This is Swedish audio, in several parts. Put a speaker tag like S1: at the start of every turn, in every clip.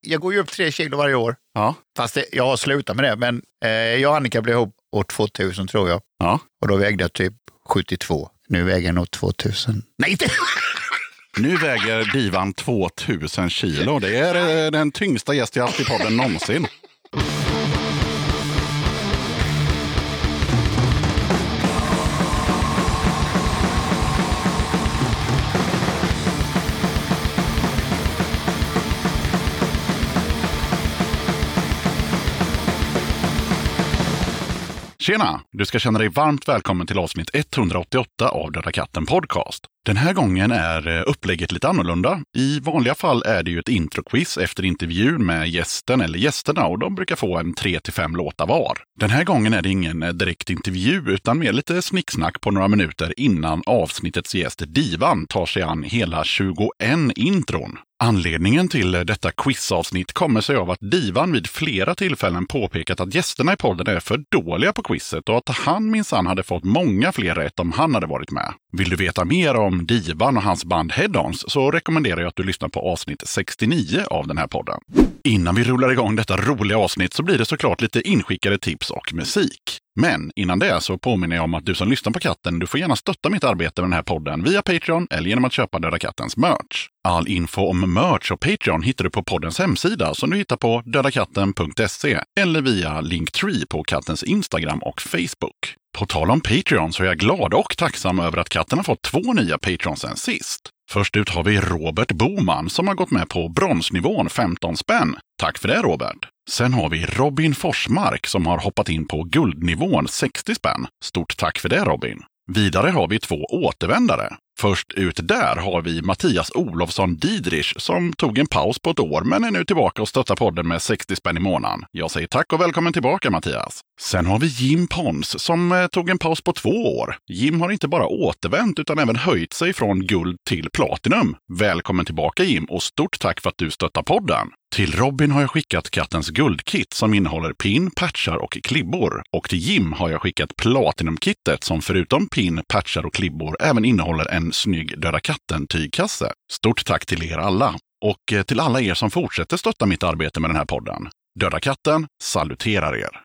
S1: jag går ju upp tre kilo varje år.
S2: Ja.
S1: Fast det, jag har slutat med det, men eh, jag och Annika blev ihop år 2000 tror jag.
S2: Ja.
S1: Och då vägde jag typ 72. Nu väger jag nog 2000. Nej, inte!
S2: Nu väger divan 2000 kilo. Det är eh, den tyngsta gäst jag haft i podden någonsin. Tjena! Du ska känna dig varmt välkommen till avsnitt 188 av Döda katten podcast. Den här gången är eh, upplägget lite annorlunda. I vanliga fall är det ju ett introquiz efter intervjun med gästen eller gästerna och de brukar få en 3-5 låtar var. Den här gången är det ingen eh, direkt intervju utan mer lite snicksnack på några minuter innan avsnittets gäst Divan tar sig an hela 21 intron. Anledningen till detta quizavsnitt kommer sig av att Divan vid flera tillfällen påpekat att gästerna i podden är för dåliga på quizet och att han minsann hade fått många fler rätt om han hade varit med. Vill du veta mer om Divan och hans band Head-Ons så rekommenderar jag att du lyssnar på avsnitt 69 av den här podden. Innan vi rullar igång detta roliga avsnitt så blir det såklart lite inskickade tips och musik. Men innan det så påminner jag om att du som lyssnar på katten, du får gärna stötta mitt arbete med den här podden via Patreon eller genom att köpa Döda Kattens merch. All info om merch och Patreon hittar du på poddens hemsida som du hittar på dödakatten.se eller via Linktree på kattens Instagram och Facebook. På tal om Patreon så är jag glad och tacksam över att katten har fått två nya Patreons sen sist. Först ut har vi Robert Boman som har gått med på bronsnivån 15 spänn. Tack för det Robert! Sen har vi Robin Forsmark som har hoppat in på guldnivån 60 spänn. Stort tack för det Robin! Vidare har vi två återvändare. Först ut där har vi Mattias Olofsson Didrich som tog en paus på ett år men är nu tillbaka och stöttar podden med 60 spänn i månaden. Jag säger tack och välkommen tillbaka Mattias! Sen har vi Jim Pons som eh, tog en paus på två år. Jim har inte bara återvänt utan även höjt sig från guld till platinum. Välkommen tillbaka Jim och stort tack för att du stöttar podden! Till Robin har jag skickat kattens guldkit som innehåller pin, patchar och klibbor. Och till Jim har jag skickat platinumkittet som förutom pin, patchar och klibbor även innehåller en snygg Döda katten-tygkasse. Stort tack till er alla! Och eh, till alla er som fortsätter stötta mitt arbete med den här podden. Döda katten saluterar er!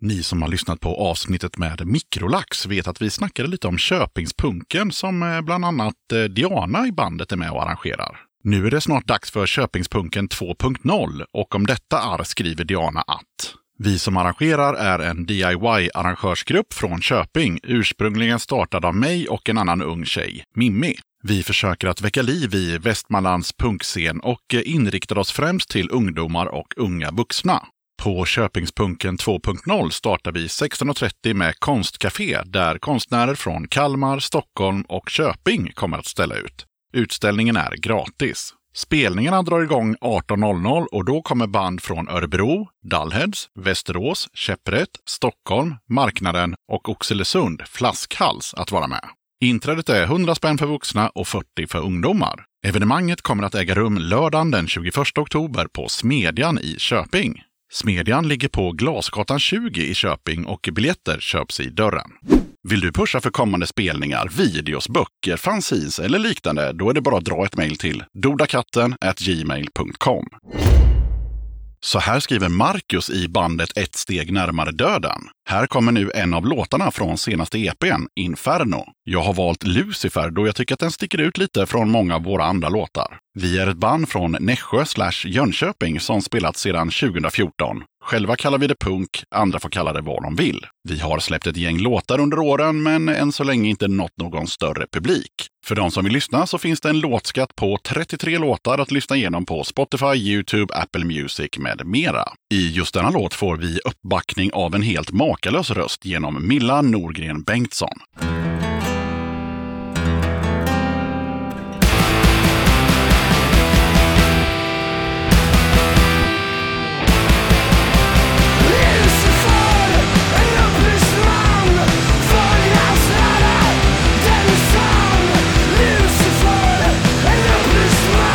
S2: Ni som har lyssnat på avsnittet med Mikrolax vet att vi snackade lite om Köpingspunken som eh, bland annat eh, Diana i bandet är med och arrangerar. Nu är det snart dags för Köpingspunken 2.0 och om detta arr skriver Diana att vi som arrangerar är en DIY-arrangörsgrupp från Köping, ursprungligen startad av mig och en annan ung tjej, Mimmi. Vi försöker att väcka liv i Västmanlands punkscen och eh, inriktar oss främst till ungdomar och unga vuxna. På Köpingspunken 2.0 startar vi 16.30 med konstcafé där konstnärer från Kalmar, Stockholm och Köping kommer att ställa ut. Utställningen är gratis. Spelningarna drar igång 18.00 och då kommer band från Örebro, Dallheads, Västerås, Käpprätt, Stockholm, Marknaden och Oxelösund, Flaskhals, att vara med. Inträdet är 100 spänn för vuxna och 40 för ungdomar. Evenemanget kommer att äga rum lördagen den 21 oktober på Smedjan i Köping. Smedjan ligger på Glasgatan 20 i Köping och biljetter köps i dörren. Vill du pusha för kommande spelningar, videos, böcker, fanzines eller liknande? Då är det bara att dra ett mejl till dodakatten gmail.com. Så här skriver Marcus i bandet Ett steg närmare döden. Här kommer nu en av låtarna från senaste EPn, Inferno. Jag har valt Lucifer då jag tycker att den sticker ut lite från många av våra andra låtar. Vi är ett band från Nässjö slash Jönköping som spelat sedan 2014. Själva kallar vi det punk, andra får kalla det vad de vill. Vi har släppt ett gäng låtar under åren, men än så länge inte nått någon större publik. För de som vill lyssna så finns det en låtskatt på 33 låtar att lyssna igenom på Spotify, YouTube, Apple Music med mera. I just denna låt får vi uppbackning av en helt makalös röst genom Milla Norgren Bengtsson.
S3: Lucifer, and the policeman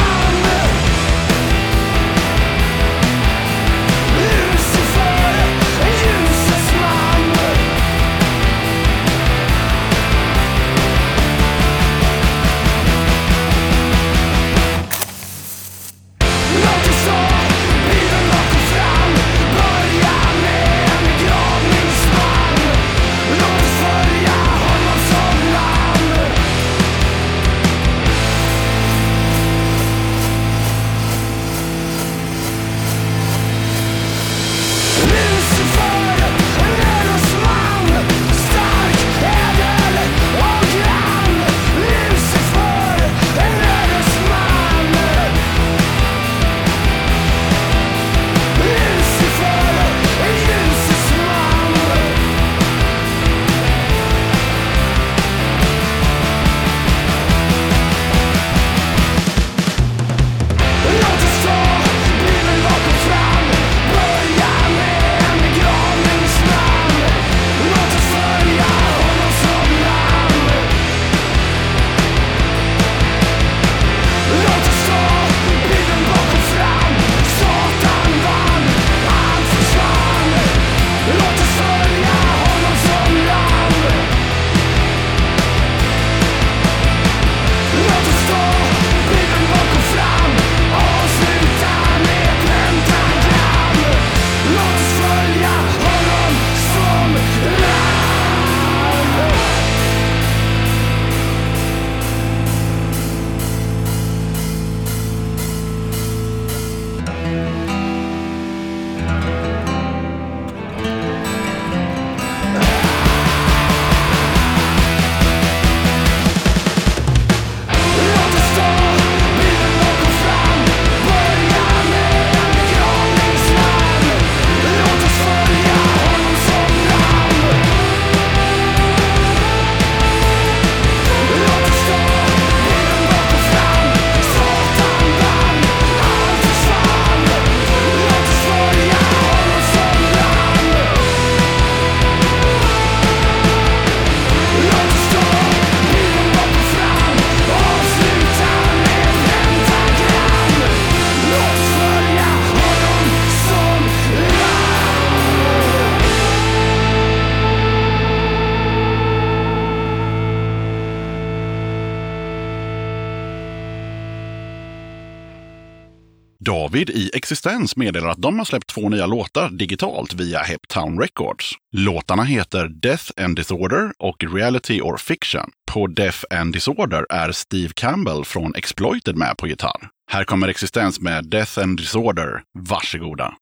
S2: David i Existens meddelar att de har släppt två nya låtar digitalt via Heptown Records. Låtarna heter Death and Disorder och Reality or Fiction. På Death and Disorder är Steve Campbell från Exploited med på gitarr. Här kommer Existens med Death and Disorder. Varsågoda!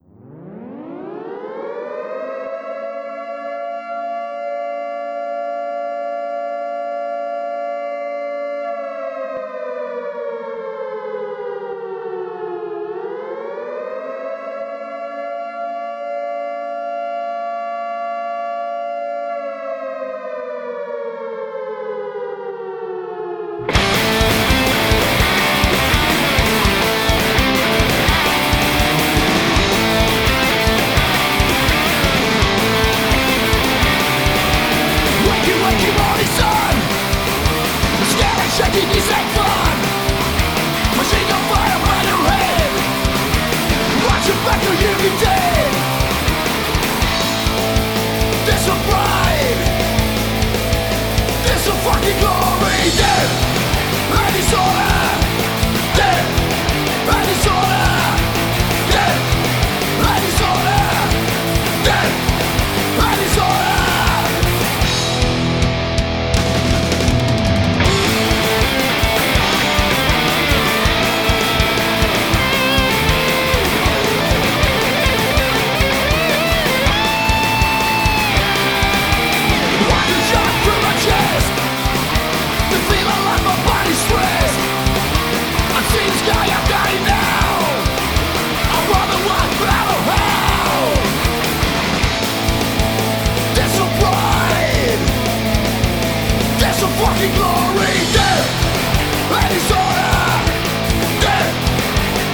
S3: Waking, waking morning sun Scared and shaking is like fun Machine gun fire by your head Watching back to you be dead This a pride This a fucking glory Death and disorder Death and disorder Death and disorder Death and disorder Watching shot through my chest The feeling like my body's stressed I see the sky, I'm dying now I rather walk battle hell There's a pride There's a fucking glory Death and disorder Death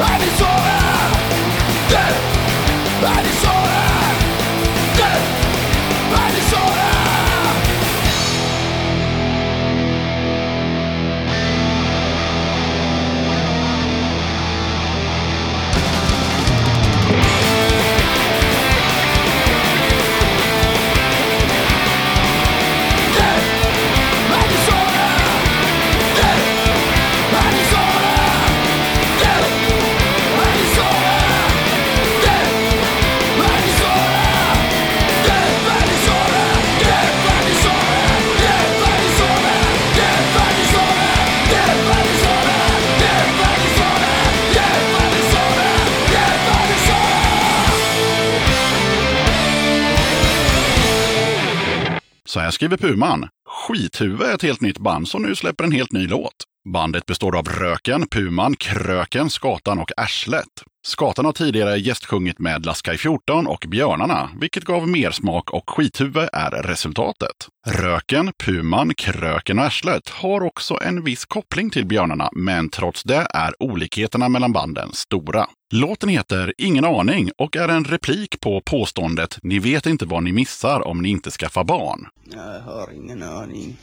S3: and disorder Death and disorder Death and disorder
S2: Så här skriver Puman. Skithuvud är ett helt nytt band som nu släpper en helt ny låt. Bandet består av Röken, Puman, Kröken, Skatan och Arslet. Skatan har tidigare gästsjungit med Laskaj 14 och Björnarna, vilket gav mer smak och skithuvud är resultatet. Röken, Puman, Kröken och Arslet har också en viss koppling till Björnarna, men trots det är olikheterna mellan banden stora. Låten heter Ingen aning och är en replik på påståendet Ni vet inte vad ni missar om ni inte skaffar barn.
S4: Jag har ingen aning.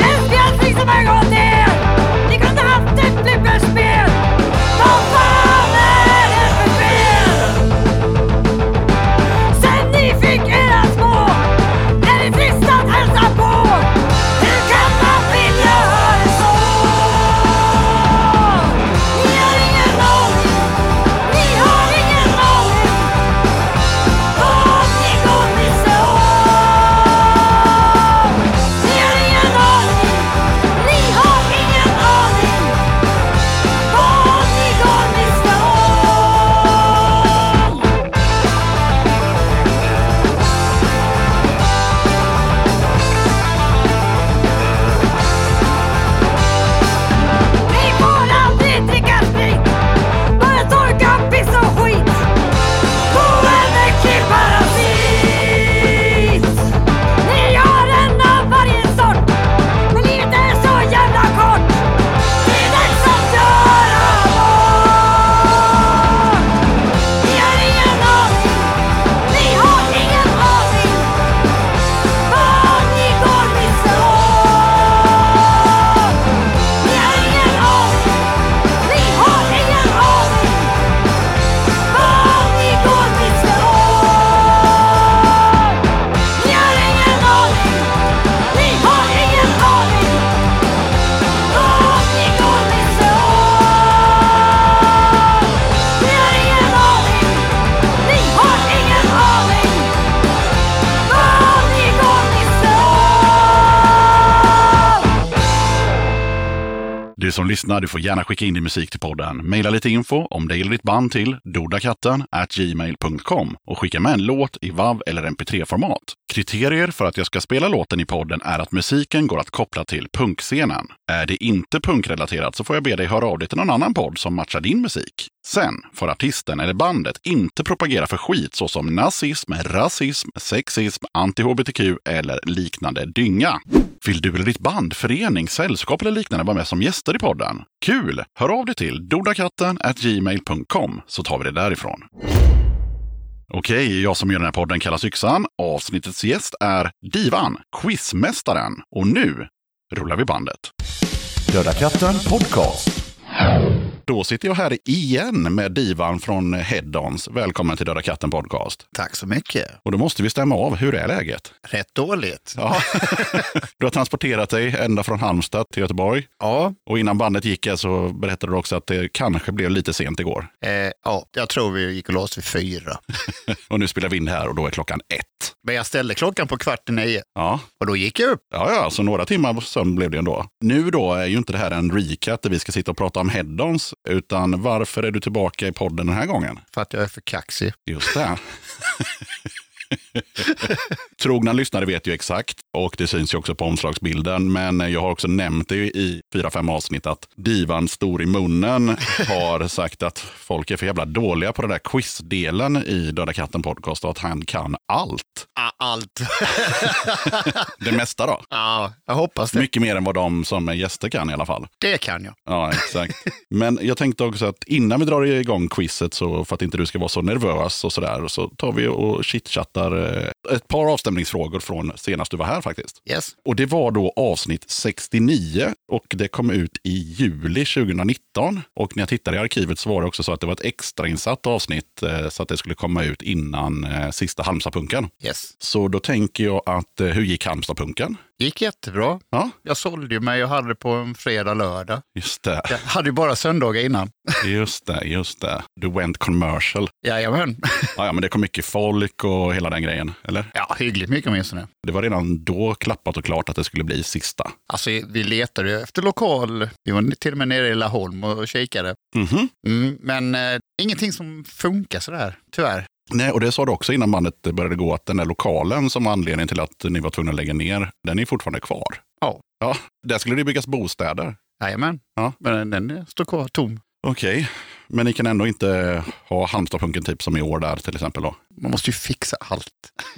S5: Esbjörn fryser mig gång ner! Ni kunde haft ett flipperspel! Vad fan är det för fel? Sen ni fick era små är det
S2: Du som lyssnar, du får gärna skicka in din musik till podden. Maila lite info om dig eller ditt band till dodakatten gmail.com och skicka med en låt i WAV eller MP3-format. Kriterier för att jag ska spela låten i podden är att musiken går att koppla till punkscenen. Är det inte punkrelaterat så får jag be dig höra av dig till någon annan podd som matchar din musik. Sen får artisten eller bandet inte propagera för skit såsom nazism, rasism, sexism, anti-hbtq eller liknande dynga. Vill du eller ditt band, förening, sällskap eller liknande vara med som gäster i podden? Kul! Hör av dig till dodakatten gmail.com så tar vi det därifrån. Okej, jag som gör den här podden kallas Yxan. Avsnittets gäst är Divan, quizmästaren. Och nu rullar vi bandet. Döda katten podcast. Då sitter jag här igen med Divan från Head-Ons. Välkommen till Döda katten podcast.
S1: Tack så mycket.
S2: Och då måste vi stämma av, hur är läget?
S1: Rätt dåligt.
S2: Ja. Du har transporterat dig ända från Halmstad till Göteborg.
S1: Ja,
S2: Och innan bandet gick här så berättade du också att det kanske blev lite sent igår.
S1: eh, ja, jag tror vi gick och lås vid fyra.
S2: Och nu spelar vi in det här och då är klockan ett.
S1: Men jag ställde klockan på kvart i nio
S2: Ja,
S1: och då gick jag upp.
S2: Ja, ja, så några timmar sömn blev det ändå. Nu då är ju inte det här en recap där vi ska sitta och prata om head-ons, utan varför är du tillbaka i podden den här gången?
S1: För att jag är för kaxig.
S2: Just det. Trogna lyssnare vet ju exakt och det syns ju också på omslagsbilden. Men jag har också nämnt det i fyra, fem avsnitt att divan stor i munnen har sagt att folk är för jävla dåliga på den där quizdelen i Döda katten podcast och att han kan allt.
S1: Ah, allt.
S2: Det mesta då.
S1: ja, jag hoppas det.
S2: Mycket mer än vad de som är gäster kan i alla fall.
S1: Det kan jag.
S2: Ja, exakt. Men jag tänkte också att innan vi drar igång quizet, så för att inte du ska vara så nervös och sådär, så tar vi och chitchattar eh, ett par avstämningsfrågor från senast du var här faktiskt.
S1: Yes.
S2: Och det var då avsnitt 69 och det kom ut i juli 2019. Och när jag tittade i arkivet så var det också så att det var ett extrainsatt avsnitt eh, så att det skulle komma ut innan eh, sista Halmstadpunken.
S1: Yes.
S2: Så då tänker jag att eh, hur gick Halmstadpunken?
S1: Gick jättebra.
S2: Ja,
S1: Jag sålde ju mig och hade det på en fredag, lördag.
S2: just det,
S1: Jag hade ju bara söndagar innan.
S2: just det, just det. Du went commercial.
S1: Jajamän.
S2: Ja, ja, men det kom mycket folk och hela den grejen, eller?
S1: Ja, hyggligt mycket åtminstone.
S2: Det var redan då klappat och klart att det skulle bli sista.
S1: Alltså, vi letade ju efter lokal. Vi var till och med nere i Laholm och kikade.
S2: Mhm.
S1: Mm, men eh, ingenting som funkar sådär, tyvärr.
S2: Nej, och det sa du också innan bandet började gå att den där lokalen som var anledningen till att ni var tvungna att lägga ner, den är fortfarande kvar.
S1: Ja.
S2: Ja, där skulle det byggas bostäder.
S1: Jajamän.
S2: Ja.
S1: Men den, den står kvar tom.
S2: Okej, men ni kan ändå inte ha Halmstadpunken typ som i år där till exempel då?
S1: Man måste ju fixa allt.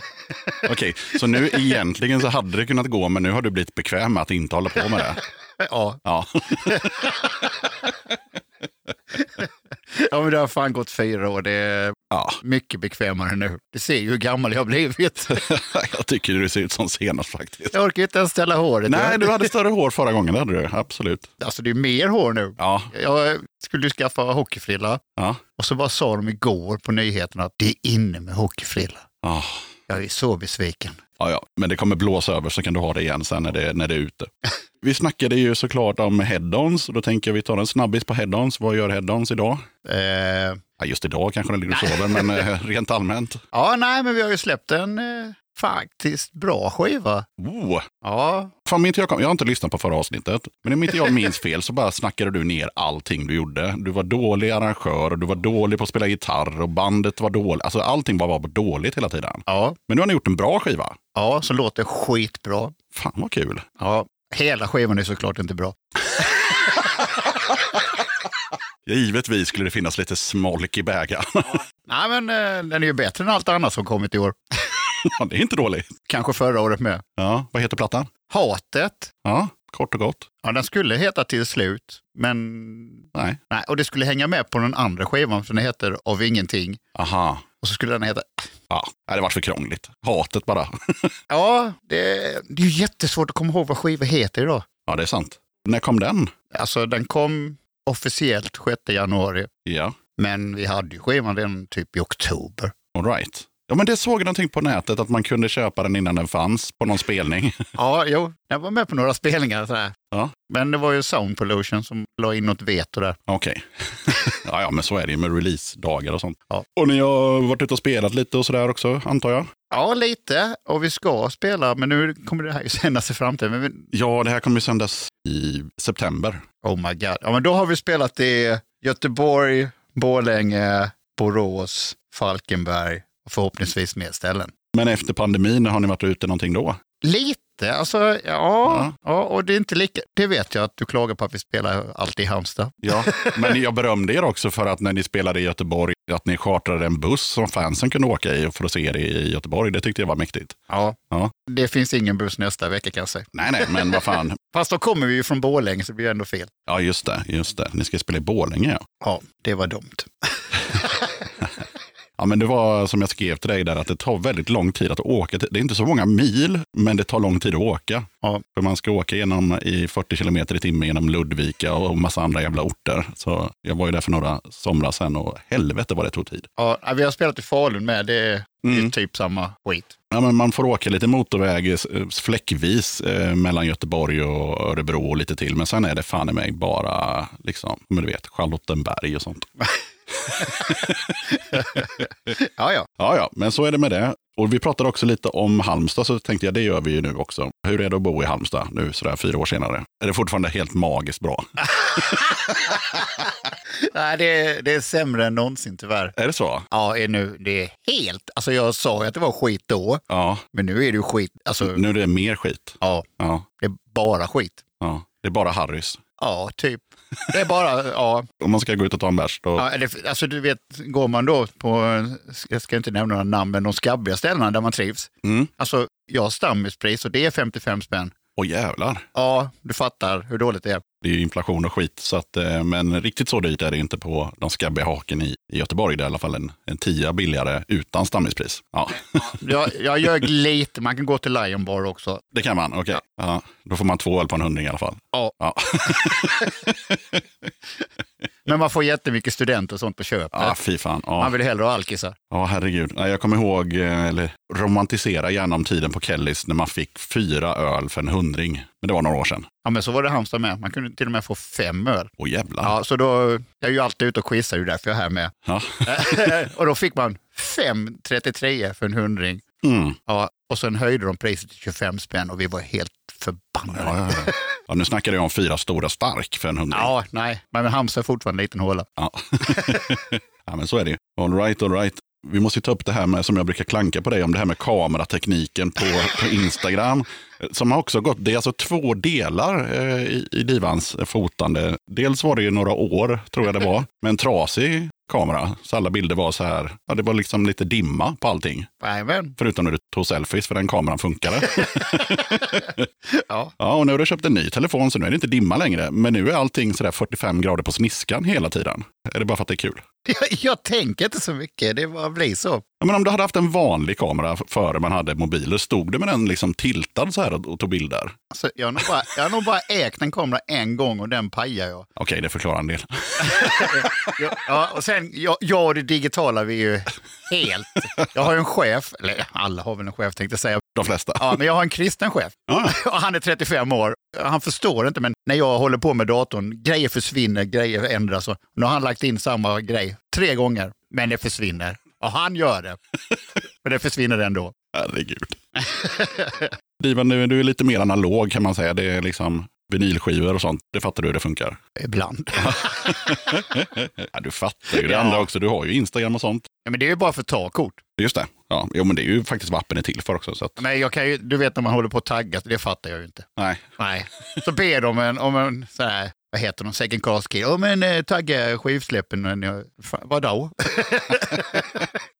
S2: Okej, så nu egentligen så hade det kunnat gå, men nu har du blivit bekväm med att inte hålla på med det.
S1: Ja,
S2: Ja,
S1: ja men det har fan gått fyra år. Det är
S2: ja.
S1: mycket bekvämare nu. Du ser ju hur gammal jag har blivit.
S2: jag tycker du ser ut som senast faktiskt.
S1: Jag orkar inte ens ställa håret.
S2: Nej,
S1: Jag-
S2: du hade större hår förra gången, det hade du. Absolut.
S1: Alltså det är mer hår nu.
S2: Ja,
S1: Jag skulle ju skaffa hockeyfrilla
S2: ja.
S1: och så bara sa de igår på nyheterna att det är inne med hockeyfrilla.
S2: Ah,
S1: Jag är så besviken.
S2: Ja, ja, men det kommer blåsa över så kan du ha det igen sen när det, när det är ute. Vi snackade ju såklart om head-ons och då tänker jag vi tar en snabbis på head-ons. Vad gör head-ons idag?
S1: Eh,
S2: Ja, just idag kanske den ligger och sover, men eh, rent allmänt.
S1: ja, nej, men vi har ju släppt en eh, faktiskt bra skiva.
S2: Oh.
S1: Ja,
S2: Fan, om inte jag, kom, jag har inte lyssnat på förra avsnittet, men om inte jag minns fel så bara snackade du ner allting du gjorde. Du var dålig arrangör och du var dålig på att spela gitarr och bandet var dåligt. Alltså allting bara var dåligt hela tiden.
S1: ja,
S2: Men nu har ni gjort en bra skiva.
S1: ja, som låter skitbra.
S2: Fan vad kul.
S1: Ja, hela skivan är såklart inte bra.
S2: Givetvis skulle det finnas lite smolk i bägaren.
S1: Nej, men eh, den är ju bättre än allt annat som kommit i år.
S2: Ja, det är inte dåligt.
S1: Kanske förra året med.
S2: Ja, vad heter plattan?
S1: Hatet.
S2: Ja, kort och gott.
S1: Ja, den skulle heta Till slut, men
S2: Nej.
S1: nej, och det skulle hänga med på den andra skivan för den heter Av ingenting.
S2: Aha.
S1: Och så skulle den heta...
S2: Ja, nej, det var för krångligt. Hatet bara.
S1: Ja, det, det är ju jättesvårt att komma ihåg vad skivor heter idag.
S2: Ja, det är sant. När kom den?
S1: Alltså den kom officiellt 6 januari,
S2: Ja,
S1: men vi hade ju skivan redan typ i oktober.
S2: all right. Ja, men det såg jag någonting på nätet att man kunde köpa den innan den fanns på någon spelning.
S1: Ja, jo, den var med på några spelningar. Sådär.
S2: Ja.
S1: Men det var ju Sound Pollution som la in något veto där.
S2: Okej. Ja, ja, men så är det ju med releasedagar och sånt.
S1: Ja.
S2: Och ni har varit ute och spelat lite och sådär också, antar jag?
S1: Ja, lite. Och vi ska spela, men nu kommer det här ju sändas i framtiden. Men vi,
S2: Ja, det här kommer ju sändas i september.
S1: oh my god. Ja, men då har vi spelat i Göteborg, Borlänge, Borås, Falkenberg och förhoppningsvis mer ställen.
S2: Men efter pandemin, har ni varit ute någonting då?
S1: Lite, alltså ja, ja. och det är inte lika. Det vet jag att du klagar på att vi spelar alltid i Halmstad.
S2: Ja, men jag berömde er också för att när ni spelade i Göteborg, att ni chartrade en buss som fansen kunde åka i och för att se er i Göteborg. Det tyckte jag var mäktigt.
S1: Ja.
S2: Ja.
S1: Det finns ingen buss nästa vecka kan jag säga.
S2: Nej, nej, men vad fan.
S1: Fast då kommer vi ju från Borlänge så det blir ändå fel.
S2: Ja, just det, just det. Ni ska spela i Borlänge, ja.
S1: Ja, det var dumt.
S2: Ja, men det var som jag skrev till dig där, att det tar väldigt lång tid att åka. till- Det är inte så många mil, men det tar lång tid att åka.
S1: Ja.
S2: För man ska åka genom, i 40 kilometer i timmen genom Ludvika och massa andra jävla orter. Så jag var ju där för några somrar sedan och helvete vad det tog tid.
S1: Ja, äh, vi har spelat i Falun med, det är det är
S2: Mm.
S1: typ samma skit.
S2: Ja, men man får åka lite motorväg eh, fläckvis eh, mellan Göteborg och Örebro och lite till. Men sen är det fan i mig bara liksom, men du vet, Charlottenberg och sånt.
S1: Ja, ja.
S2: Ja, ja, men så är det med det. Och vi pratade också lite om Halmstad, så tänkte jag det gör vi ju nu också. Hur är det att bo i Halmstad nu sådär fyra år senare? Är det fortfarande helt magiskt bra?
S1: Nej, det, är- det är sämre än någonsin tyvärr.
S2: Är det så?
S1: Ja, är nu, det är helt... Alltså jag sa ju att det var skit då,
S2: Ja,
S1: men nu är det ju skit. Alltså,
S2: nu är det mer skit.
S1: ja,
S2: Ja,
S1: det är bara skit.
S2: ja. Det är bara Harrys.
S1: Ja, typ. Det är bara, ja.
S2: Om man ska gå ut och ta en bärs, då...
S1: ja det, alltså du vet, går man då på, jag ska inte nämna några namn, men de skabbiga ställena där man trivs.
S2: Mm.
S1: Alltså, jag har stammispris och det är 55 spänn.
S2: Åh jävlar.
S1: Ja, du fattar hur dåligt det är.
S2: Det är ju inflation och skit, så att, eh, men riktigt så dyrt är det inte på de skabbiga haken i, i Göteborg. Det är i alla fall en, en tia billigare utan stammispris. Ja,
S1: Jag, jag ljög lite, man kan gå till Lion Bar också.
S2: det kan man. Okej. Ja, då får man två öl på en hundring i alla fall.
S1: Ja.
S2: Ja.
S1: Men man får jättemycket studenter och sånt på köpet.
S2: Ja, fy fan. Ja.
S1: Man vill hellre ha alkisar.
S2: Ja, herregud. Nej, Jag kommer ihåg, eh, eller romantisera gärna om tiden på Kellys när man fick fyra öl för en hundring. Men det var några år sedan.
S1: Ja, men så var det Halmstad med. Man kunde till och med få fem öl.
S2: Åh jävlar.
S1: Ja, så då, jag är ju alltid ute och quizar, det är därför jag är här med.
S2: Ja.
S1: och då fick man 5,33 för en hundring.
S2: Mm.
S1: Ja, och sen höjde de priset till 25 spänn och vi var helt förbannade.
S2: Ja, ja, ja. ja, nu snackade jag om fyra stora stark för en hundring.
S1: Ja, nej, men Halmstad är fortfarande en liten håla.
S2: Ja. ja, men så är det ju. All right, all right. Vi måste ju ta upp det här med, som jag brukar klanka på dig om, det här med kameratekniken på, på Instagram. Som har också gått, det är alltså två delar eh, i, i Divans fotande. Dels var det ju några år, tror jag det var, med en trasig kamera. Så alla bilder var så här, ja det var liksom lite dimma på allting.
S1: Jajamän,
S2: Förutom när du tog selfies, för den kameran funkade.
S1: ja.
S2: Ja, och nu har du köpt en ny telefon, så nu är det inte dimma längre. Men nu är allting sådär 45 grader på sniskan hela tiden. Är det bara för att det är kul?
S1: Jag, jag tänker inte så mycket, det bara blir så.
S2: Ja, men om du hade haft en vanlig kamera f- före man hade mobiler, stod du med den liksom tiltad så här och och tog bilder?
S1: Alltså, jag, har nog bara, jag har nog bara ägt en kamera en gång och den pajar jag.
S2: Okej, det förklarar en del.
S1: Ja, Ja, och sen, jag, jag och det digitala, vi är ju helt... Jag har ju en chef, eller alla har väl en chef tänkte jag säga,
S2: De flesta.
S1: ja, men jag har en kristen chef.
S2: Ja.
S1: Och han är 35 år. Han förstår inte, men när jag håller på med datorn, grejer försvinner, grejer ändras. Och nu har han lagt in samma grej tre gånger, men det försvinner. Och han gör det. Men det försvinner ändå.
S2: Herregud. Divan, du, du är lite mer analog kan man säga. Det är liksom vinylskivor och sånt. Det fattar du hur det funkar.
S1: Ibland.
S2: Ja, du fattar ju det andra också. Du har ju Instagram och sånt.
S1: Ja, men det är ju bara för att ta kort.
S2: Just det. Ja, jo, men det är ju faktiskt vad appen är till för också. Så att,
S1: Men jag kan ju, du vet när man håller på att tagga, det fattar jag ju inte.
S2: nej.
S1: Nej. Så ber de en, om en sån här, vad heter de, second class kid. Ja men eh, tagga skivsläppen. Men jag- fan, Vadå?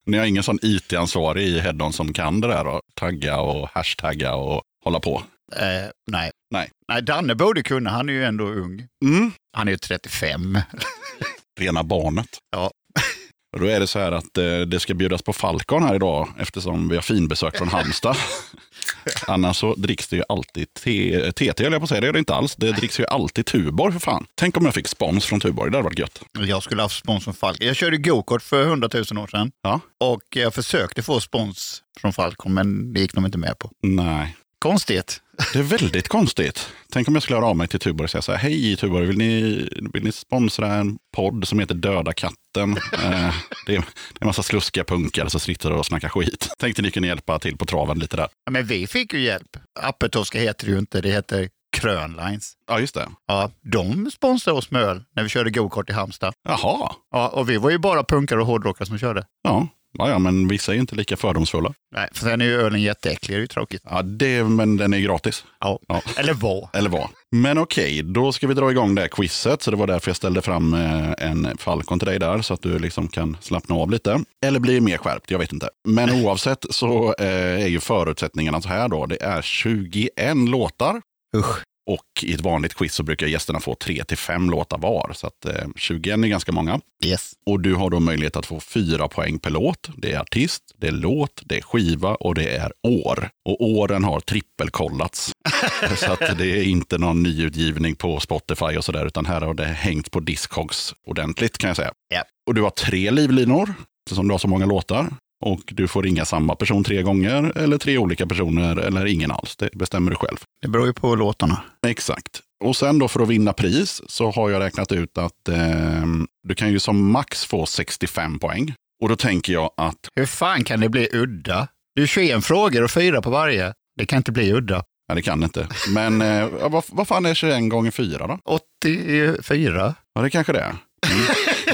S2: Ni har ingen sån IT-ansvarig i Headon som kan det där och tagga och hashtagga och hålla på.
S1: Eh, nej.
S2: Nej.
S1: Nej, Danne borde kunna, han är ju ändå ung.
S2: Mm.
S1: Han är ju 35.
S2: Rena barnet.
S1: Ja.
S2: Och Då är det så här att eh, det ska bjudas på Falcon här idag eftersom vi har finbesök från Halmstad. Annars så dricks det ju alltid te- TT, höll jag på att säga. Det gör det inte alls. Det dricks ju alltid Tuborg för fan. Tänk om jag fick spons från Tuborg. Det hade varit gött.
S1: Jag skulle haft spons från Falcon. Jag körde gokart för 100 000 år sedan
S2: Ja.
S1: och jag försökte få spons från Falcon men det gick de inte med på.
S2: Nej.
S1: Konstigt.
S2: Det är väldigt konstigt. Tänk om jag skulle höra av mig till Tuborg och säga så här, hej Tuborg, vill ni, vill ni sponsra en podd som heter Döda katten? Eh, det, är, det är en massa sluskiga punkare som sitter och snackar skit. Tänkte ni kunde hjälpa till på traven lite där.
S1: Ja, men vi fick ju hjälp. Appeltoska heter det ju inte, det heter Krönlines.
S2: Ja, just det.
S1: Ja, de sponsrade oss med öl när vi körde gokart i Halmstad.
S2: Jaha.
S1: Ja, och vi var ju bara punkare och hårdrockare som körde.
S2: Ja, ja, ja men vissa är inte lika fördomsfulla.
S1: Nej, för sen är ju ölen jätteäcklig, det är ju tråkigt.
S2: Ja, det, men den är gratis.
S1: Ja.
S2: Ja.
S1: Eller var.
S2: Eller vad. Men okej, då ska vi dra igång det här quizet. Så det var därför jag ställde fram eh, en Falcon till dig där, så att du liksom kan slappna av lite. Eller bli mer skärpt, jag vet inte. Men oavsett så eh, är ju förutsättningarna så här då. Det är 21 låtar.
S1: Usch.
S2: Och i ett vanligt quiz så brukar gästerna få 3-5 låtar var. Så att eh, 21 är ganska många.
S1: Yes.
S2: Och du har då möjlighet att få fyra poäng per låt. Det är artist, det är låt, det är skiva och det är år. Och åren har trippelkollats. så att det är inte någon nyutgivning på Spotify och sådär, utan här har det hängt på Discogs ordentligt kan jag säga.
S1: Ja.
S2: Och du har tre livlinor, eftersom du har så många låtar. Och du får ringa samma person tre gånger, eller tre olika personer, eller ingen alls. Det bestämmer du själv.
S1: Det beror ju på låtarna.
S2: Exakt. Och sen då för att vinna pris så har jag räknat ut att eh, du kan ju som max få 65 poäng. Och då tänker jag att,
S1: Hur fan kan det bli udda? Det är 21 frågor och fyra på varje. Det kan inte bli udda.
S2: nej det kan inte. Men eh, ja, vad, vad fan är 21 gånger 4 då?
S1: 84?
S2: Ja det kanske det är. Mm.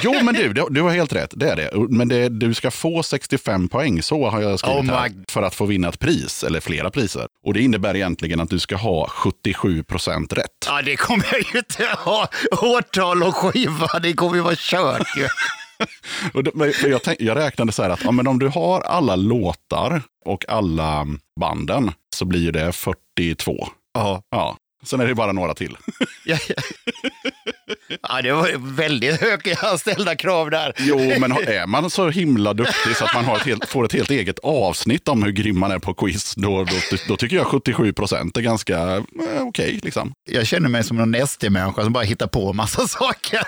S2: Jo men du, du- du har helt rätt, det är det. Men det, du ska få 65 poäng, så har jag skrivit
S1: Oh my-
S2: här, för att få vinna ett pris, eller flera priser. Och det innebär egentligen att du ska ha 77 procent rätt.
S1: Ja, det kommer jag ju inte ha. Årtal och skiva, det kommer ju vara kört ju.
S2: Och det, men jag, tänk, jag räknade så här att ja, men om du har alla låtar och alla banden så blir ju det 42.
S1: Ja.
S2: Ja. Sen är det bara några till.
S1: Ja, ja. ja, det var väldigt höga ställda krav där.
S2: Jo, men har- är man så himla duktig så att man har ett helt, får ett helt eget avsnitt om hur grym man är på quiz, då, då, då tycker jag 77 procent är ganska eh, okej. liksom.
S1: Jag känner mig som någon SD-människa som bara hittar på massa saker.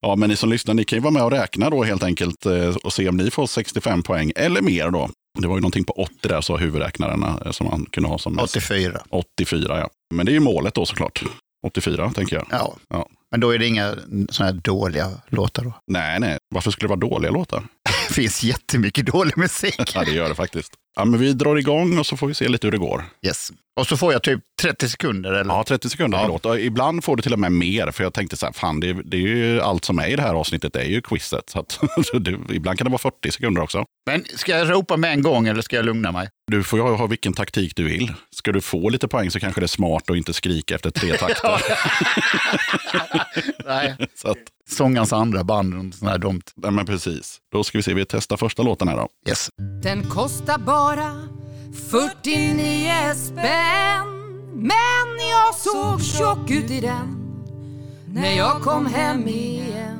S2: Ja, men ni som lyssnar, ni kan ju vara med och räkna då helt enkelt eh, och se om ni får 65 poäng eller mer då. Det var ju någonting på 80 där, sa huvudräknarna, eh, som man kunde ha som mest.
S1: 84.
S2: 84 ja. Men det är ju målet då såklart. 84 tänker jag.
S1: Ja.
S2: Ja.
S1: Men då är det inga sådana här dåliga låtar då.
S2: Nej, nej. Varför skulle det vara dåliga låtar?
S1: Det finns jättemycket dålig musik.
S2: Ja, det gör det faktiskt. Ja, men vi drar igång och så får vi se lite hur det går.
S1: Yes. Och så får jag typ 30 sekunder eller?
S2: Ja, 30 sekunder per
S1: Ja.
S2: låt. Och Ibland får du till och med mer, för jag tänkte så här, fan, det, är- det är ju allt som är i det här avsnittet, det är ju quizet. Så att, du, ibland kan det vara 40 sekunder också.
S1: Men ska jag ropa med en gång eller ska jag lugna mig?
S2: Du får ju ha vilken taktik du vill. Ska du få lite poäng så kanske det är smart att inte skrika efter tre takter.
S1: Nej.
S2: så att,
S1: Sångarens andra band och sådär dumt.
S2: nej, men precis. Då ska vi se, vi testar första låten här då.
S1: Yes.
S6: Den kostar bara 49 spänn Men jag såg tjock ut i den När jag kom hem igen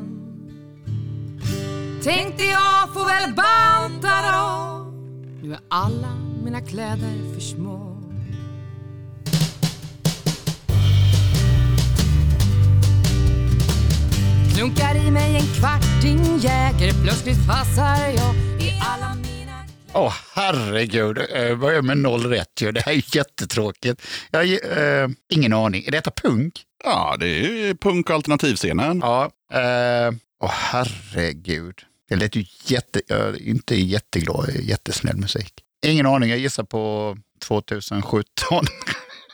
S6: Tänkte jag får väl banta då Nu är alla mina kläder för små Klunkar i mig en kvarting Jäger Plötsligt passar jag i alla mina
S1: Åh herregud, Eh, jag börjar med noll rätt ju. Det här är ju jättetråkigt. Jag, eh, ingen aning. Är detta punk?
S2: Ja, det är ju punk och alternativscenen.
S1: Ja. eh, Åh herregud. Det lät ju jätte, jag är inte jätteglad, jättesnäll musik. Ingen aning, jag gissar på 2017.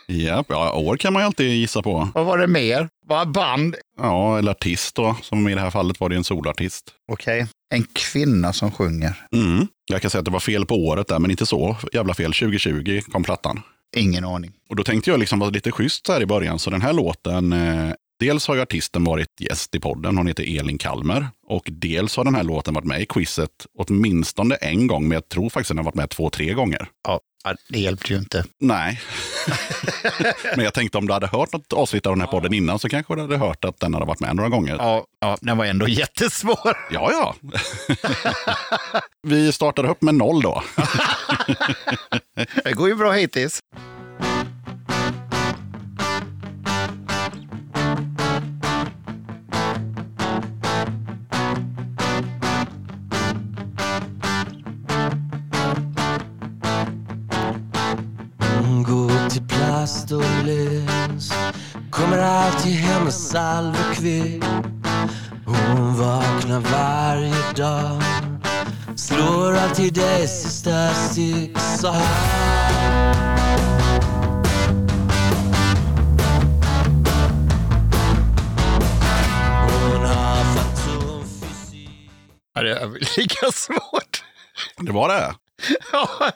S2: Japp, ja, år kan man ju alltid gissa på.
S1: Vad var det mer? Var band?
S2: Ja, eller artist då, som i det här fallet var det ju en solartist.
S1: Okej. En kvinna som sjunger.
S2: Mm. Jag kan säga att det var fel på året där, men inte så jävla fel. 2020 kom plattan.
S1: Ingen aning.
S2: Och då tänkte jag liksom vara lite schysst så här i början, så den här låten, eh, dels har ju artisten varit gäst i podden, hon heter Elin Kalmer, och dels har den här låten varit med i quizet åtminstone en gång, men jag tror faktiskt den har varit med två, tre gånger.
S1: Ja, ja, det hjälpte ju inte.
S2: Nej. men jag tänkte om du hade hört något avsnitt av den här podden innan så kanske du hade hört att den hade varit med några gånger.
S1: Ja, ja, den var ändå jättesvår.
S2: Ja, ja. vi startar upp med noll då.
S1: Det går ju bra hittills.
S7: Mm,
S4: Gå
S7: alltid hem med salvekvick. Hon vaknar varje dag. Slår alltid dig sista stick så här. Hon har fantomfysik.
S1: Ja, det är lika svårt.
S2: Det var det.
S1: Ja.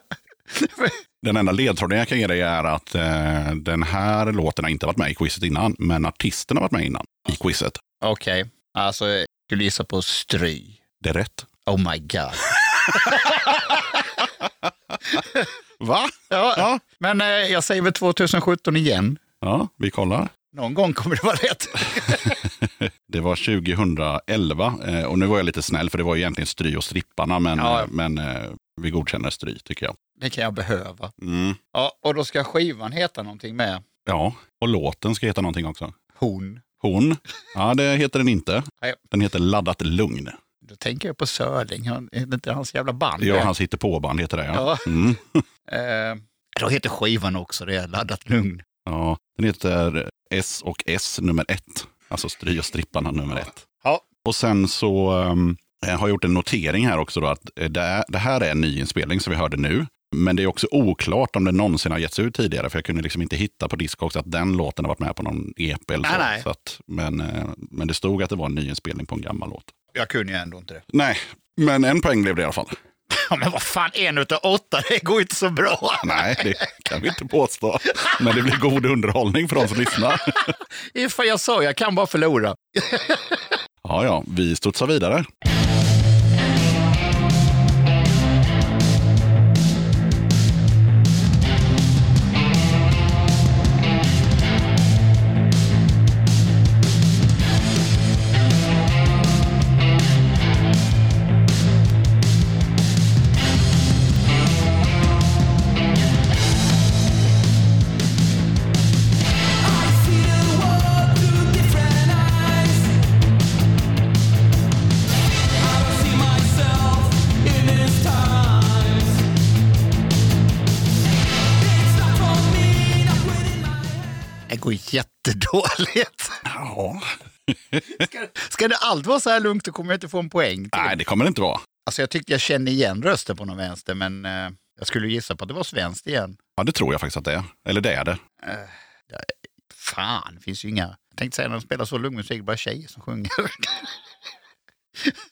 S2: Den enda ledtråden jag kan ge dig är att eh, den här låten har inte varit med i quizet innan, men artisten har varit med innan i quizet.
S1: Okej, alltså jag skulle gissa på Stry.
S2: Det är rätt.
S1: Oh my god.
S2: Va?
S1: Ja,
S2: Ja.
S1: Men eh, jag säger väl 2017 igen.
S2: Ja, vi kollar.
S1: Någon gång kommer det vara rätt.
S2: Det var 2011 eh, och nu var jag lite snäll för det var ju egentligen Stry och Stripparna, men,
S1: Ja.
S2: eh, men eh, vi godkänner Stry tycker jag.
S1: Det kan jag behöva.
S2: Mm.
S1: Ja, och då ska skivan heta någonting med
S2: Ja, och låten ska heta någonting också.
S1: hon.
S2: Hon? Ja, det heter den inte.
S1: Nej.
S2: Den heter Laddat lugn.
S1: Då tänker jag på Söling, han, är det inte hans jävla band?
S2: Ja, hans hittepåband heter det. Ja.
S1: Ja.
S2: Mm.
S1: Eh, då heter skivan också det, Laddat Lugn.
S2: Ja, den heter S och S nummer ett. Alltså Stry och stripparna nummer ett.
S1: Ja.
S2: Och sen så ehm, jag har jag gjort en notering här också då att eh, det, är- det här är en ny inspelning som vi hörde nu. Men det är också oklart om det någonsin har getts ut tidigare. För jag kunde liksom inte hitta på Discogs att den låten har varit med på någon EP eller så.
S1: Nej, nej.
S2: så att, men, eh, men det stod att det var en ny inspelning på en gammal låt.
S1: Jag kunde ju ändå inte det.
S2: Nej, men en poäng blev det i alla fall.
S1: Ja, men vad fan, en utav åtta, det går ju inte så bra.
S2: Nej, det kan vi inte påstå. Men det blir god underhållning för de som lyssnar.
S1: Ifall jag sa, jag kan bara förlora.
S2: Ja, ja, vi studsar vidare.
S1: Det går jättedåligt.
S2: Ja.
S1: Ska det alltid vara så här lugnt, då kommer jag inte få en poäng. Till.
S2: Nej, det kommer det inte vara.
S1: Alltså, jag tyckte jag kände igen rösten på någon vänster, men eh, jag skulle gissa på att det var svenskt igen.
S2: Ja, det tror jag faktiskt att det är. Eller det är det.
S1: Fan, det finns ju inga... Jag tänkte säga när de spelar så lugn musik, bara tjejer som sjunger.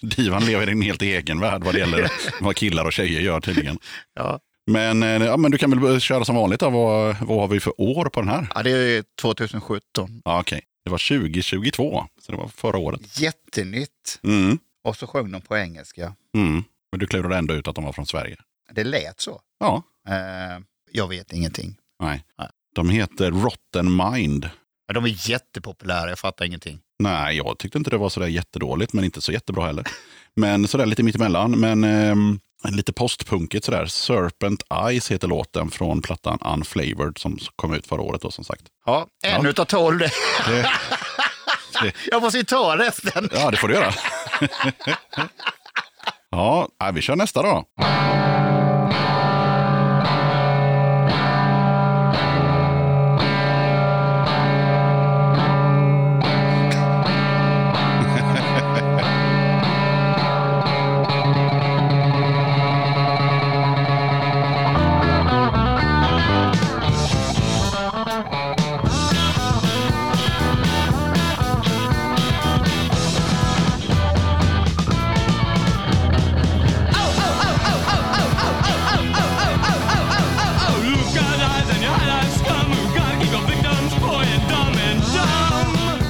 S2: Divan lever i en helt egen värld vad det gäller vad killar och tjejer gör tydligen.
S1: ja.
S2: Men, eh, ja, men du kan väl köra som vanligt. Då. Vad, vad har vi för år på den här?
S1: ja, det är 2017.
S2: Ja, okej. Det var 2022, så det var förra året.
S1: Jättenytt.
S2: Mm.
S1: Och så sjöng de på engelska.
S2: Mm. Men du klurade ändå ut att de var från Sverige.
S1: Det lät så.
S2: Ja,
S1: Eh, jag vet ingenting.
S2: nej.
S1: Nej.
S2: De heter Rotten Mind.
S1: Ja, de är jättepopulära, jag fattar ingenting.
S2: Nej, jag tyckte inte det var sådär jättedåligt, men inte så jättebra heller. Men sådär lite mittemellan, men ehm, lite postpunkigt sådär. Serpent Eyes heter låten från plattan Unflavored som kom ut förra året då som sagt.
S1: Ja, en
S2: Ja.
S1: utav tolv. det.
S2: Det,
S1: Jag måste ju ta resten.
S2: ja, det får du göra. ja, nej, vi kör nästa då.
S8: Who've got eyes and your highlights scum? Who've got to keep your victims poor and dumb and dumb?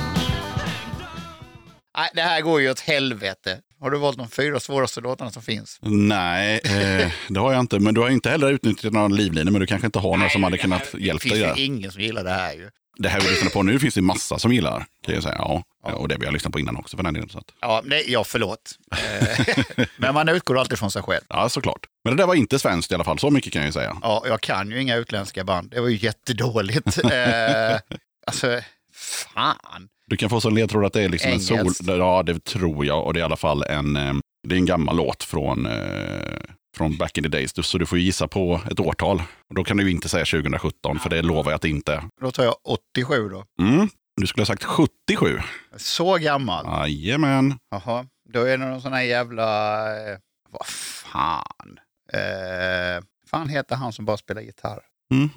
S1: Nej, det här går ju åt helvete. Har du valt de fyra svåraste låtarna som finns?
S2: Nej, eh, det har jag inte. Men du har inte heller utnyttjat några livlinor, men du kanske inte har några som hade kunnat hjälpa
S1: finns
S2: dig
S1: ju
S2: där.
S1: ingen som gillar det här ju.
S2: Det här vi lyssnar på nu finns det massa som gillar, kan jag säga. Ja, och det vi har lyssnat på innan också för den delen. Så att.
S1: Ja, nej, ja förlåt. Eh, Men man utgår alltid från sig själv.
S2: Ja, såklart. Men det där var inte svenskt i alla fall, så mycket kan jag ju säga.
S1: Ja, jag kan ju inga utländska band. Det var ju jättedåligt. Eh, alltså, fan.
S2: Du kan få som ledtråd att det är liksom en sol...
S1: Engelskt.
S2: Ja, det tror jag. Och det är i alla fall en, eh, det är en gammal låt från, eh, från back in the days. Du- Så du får ju gissa på ett årtal. Och Då kan du ju inte säga 2017, för det lovar jag att det inte är.
S1: Då tar jag 87 då.
S2: Mm. Du skulle ha sagt 77.
S1: Så gammal?
S2: Jajamän.
S1: Jaha, då är det någon sån här jävla... eh, Vad fan? Eh, fan heter han som bara spelar gitarr?
S2: Mhm.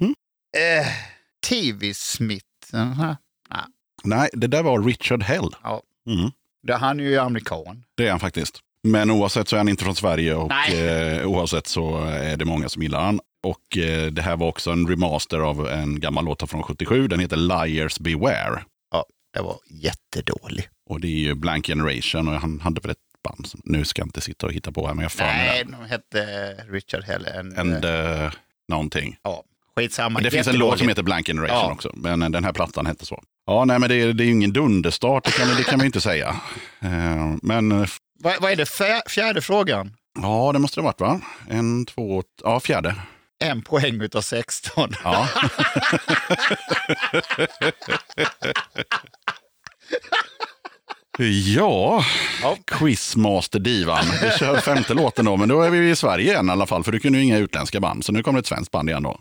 S1: Eh, TV Smith. den här.
S2: Nej, det där var Richard Hell.
S1: Ja.
S2: Mm,
S1: Det- Han är ju amerikan.
S2: det är han faktiskt. Men oavsett så är han inte från Sverige och
S1: Nej.
S2: eh, oavsett så är det många som gillar han. Och eh, det här var också en remaster av en gammal låt från 77. Den heter Liars Beware.
S1: Det var jättedålig.
S2: Och det är ju Blank Generation och han hade väl ett band som, nu ska jag inte sitta och hitta på här men jag har för mig
S1: Nej,
S2: det.
S1: de hette Richard Hell. En,
S2: And, eh, någonting.
S1: ja, skitsamma.
S2: Men det finns en låt som
S1: Jättedålig.
S2: heter Blank Generation
S1: Ja.
S2: också, men eh, den här plattan hette så. Ja, nej, men det är, det är ju ingen dunderstart, det kan, vi- det kan vi inte säga. Eh, Men eh, f-
S1: Vad, vad är det fjär, fjärde frågan?
S2: ja, det måste det ha varit va? En, två, t- ja, fjärde.
S1: En poäng utav 16.
S2: Ja. ja,
S1: Ja.
S2: Quizmaster Divan. Vi kör femte låten då, men då är vi i Sverige igen i alla fall, för du kunde ju inga utländska band, så nu kommer ett svenskt band igen då.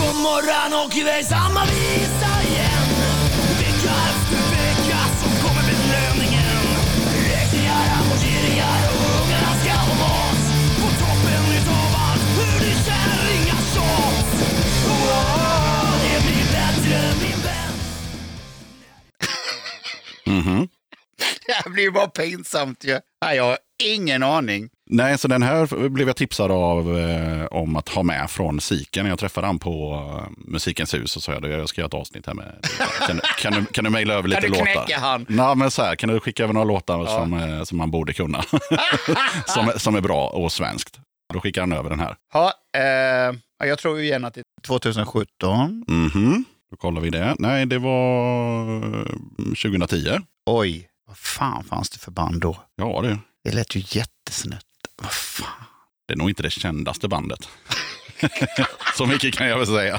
S7: på morgon åker vi samma visa igen Vecka efter vecka så kommer belöningen Räkningar, amorteringar och ungarna ska ha mat På toppen utav allt hur det kärringar tjat Åh, Det blir bättre min vän
S1: Det här blir ju bara pinsamt ju. Nej, jag har ingen aning.
S2: Nej, så den här blev jag tipsad av eh, om att ha med från Siken. Jag träffade han på eh, Musikens hus och sa jag, jag ska göra ett avsnitt här med Kan, du- kan, du, kan du mejla över lite
S1: Kan du
S2: låtar?
S1: knäcka han?
S2: Nej, men så här, kan du skicka över några låtar som, eh, som han borde kunna? som, som är bra och svenskt. Då skickar han över den här.
S1: Ja, eh, ja, jag tror ju igen att det är 2017.
S2: Mhm. Då kollar vi det. Nej, det var eh, 2010.
S1: Oj, vad fan fanns det för band då?
S2: Ja, du.
S1: Det lät ju jättesnett. Vad fan?
S2: Det är nog inte det kändaste bandet. så mycket kan jag väl säga.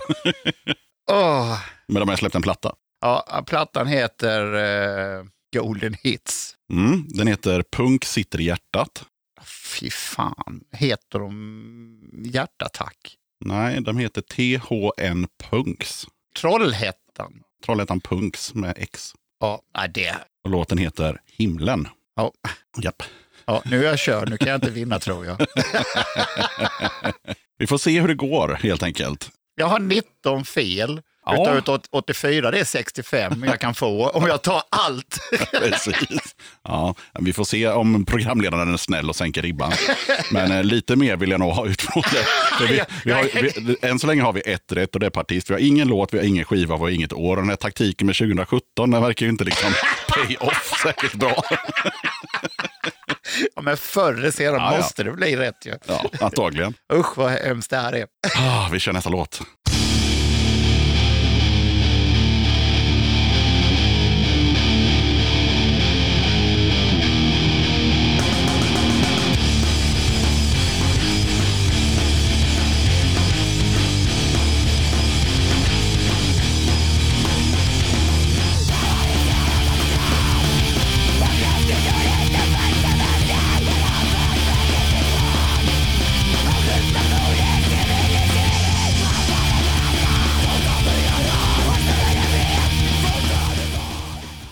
S1: Åh.
S2: Men de har släppt en platta.
S1: Ja, plattan heter eh, Golden Hits.
S2: Mm, den heter Punk sitter i hjärtat.
S1: Fy fan, heter de hjärtattack?
S2: Nej, de heter THN Punks.
S1: Trollhättan?
S2: Trollhättan Punks med X.
S1: Ja, nej, det.
S2: Och låten heter Himlen.
S1: Ja.
S2: Japp.
S1: Ja, nu är jag körd, nu kan jag inte vinna tror jag.
S2: Vi får se hur det går helt enkelt.
S1: Jag har 19 fel.
S2: Ja.
S1: Utav ut åt- 84, det är 65 jag kan få om jag tar allt.
S2: Precis. Ja, vi får se om programledaren är snäll och sänker ribban. Men eh, lite mer vill jag nog ha ut från det. För vi, vi har, vi, än så länge har vi ett rätt och det är på artist. Vi har ingen låt, vi har ingen skiva, vi har inget år. Och den här taktiken med 2017, den verkar ju inte liksom pay off särskilt bra.
S1: Ja, men förr eller senare
S2: Ja, ja.
S1: måste det bli rätt ju.
S2: Ja, antagligen.
S1: Usch vad hemskt det här är.
S2: Ah, vi kör nästa låt.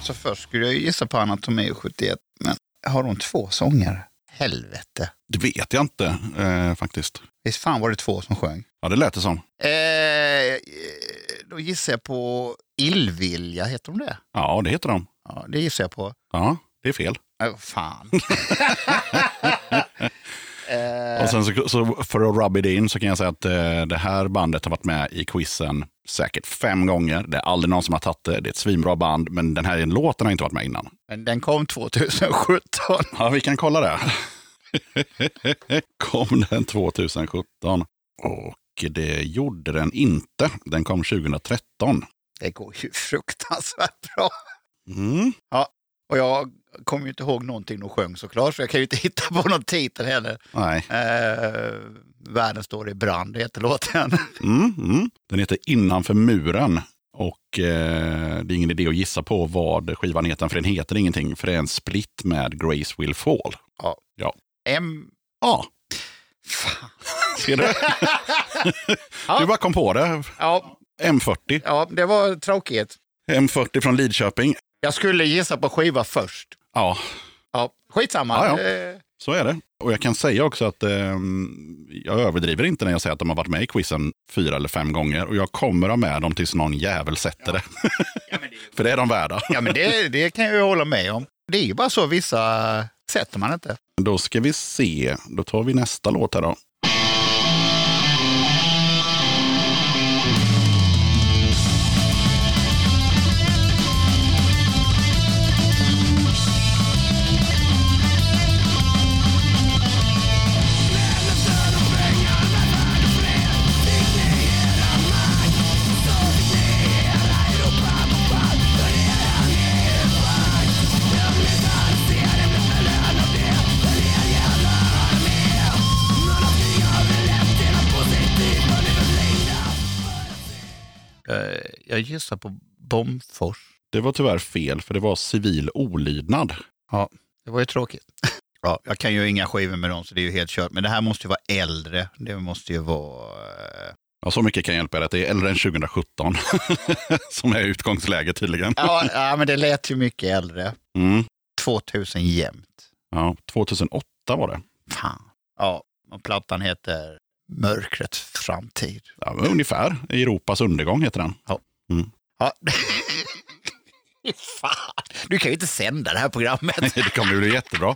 S1: Så först skulle jag gissa på Anatomi 71, men har de två sångare? Helvete.
S2: Det vet jag inte eh, faktiskt.
S1: Visst fan var det två som sjöng?
S2: Ja, det lät det som.
S1: Eh, eh, då gissar jag på Illvilja, heter de det?
S2: Ja, det heter de.
S1: Ja, det gissar jag på.
S2: Ja, det är fel.
S1: Äh, fan.
S2: Och sen så, så för att rub it in så kan jag säga att eh, det här bandet har varit med i quizen säkert fem gånger. Det är aldrig någon som har tagit det. Det är ett svinbra band, men den här låten har inte varit med innan.
S1: Men den kom 2017.
S2: Ja, vi kan kolla det. kom den 2017? Och det gjorde den inte. Den kom 2013.
S1: Det går ju fruktansvärt bra.
S2: Mm.
S1: Och jag kommer ju inte ihåg någonting de sjöng såklart, så jag kan ju inte hitta på någon titel heller.
S2: Nej.
S1: Eh, världen står i brand heter låten.
S2: Mm, mm. Den heter Innanför muren. Och eh, det är ingen idé att gissa på vad skivan heter, för den heter ingenting. För det är en split med Grace Will Fall.
S1: Ja.
S2: Ja.
S1: M...
S2: Ja. Ser du? Du bara kom på det.
S1: Ja,
S2: M40.
S1: ja, det var tråkigt.
S2: M40 från Lidköping.
S1: Jag skulle gissa på skiva först.
S2: Ja,
S1: Ja, skitsamma.
S2: Ja, ja.
S1: Eh,
S2: Så är det. Och jag kan säga också att eh, jag överdriver inte när jag säger att de har varit med i quizen fyra eller fem gånger. Och jag kommer ha med dem tills någon jävel sätter det. För det är de värda.
S1: ja men det, det kan jag ju hålla med om. Det är ju bara så vissa sätter man inte.
S2: Då ska vi se. Då tar vi nästa låt här då.
S1: Eh, Jag gissar på Bomfors.
S2: Det var tyvärr fel, för det var civil olydnad.
S1: Det var ju tråkigt. Ja, jag kan ju inga skivor med dem så det är ju helt kört. Men det här måste ju vara äldre. Det måste ju vara... eh,
S2: Ja, så mycket kan jag hjälpa er att det är äldre än 2017. som är utgångsläget tydligen.
S1: Ja, ja, men det lät ju mycket äldre.
S2: Mm.
S1: 2000 jämt.
S2: Ja, 2008 var det.
S1: Fan. Ja, och plattan heter Mörkrets framtid.
S2: Ja, men ungefär. Europas undergång heter den.
S1: Ja. Fan, du kan ju inte sända det här programmet.
S2: Det kommer bli jättebra.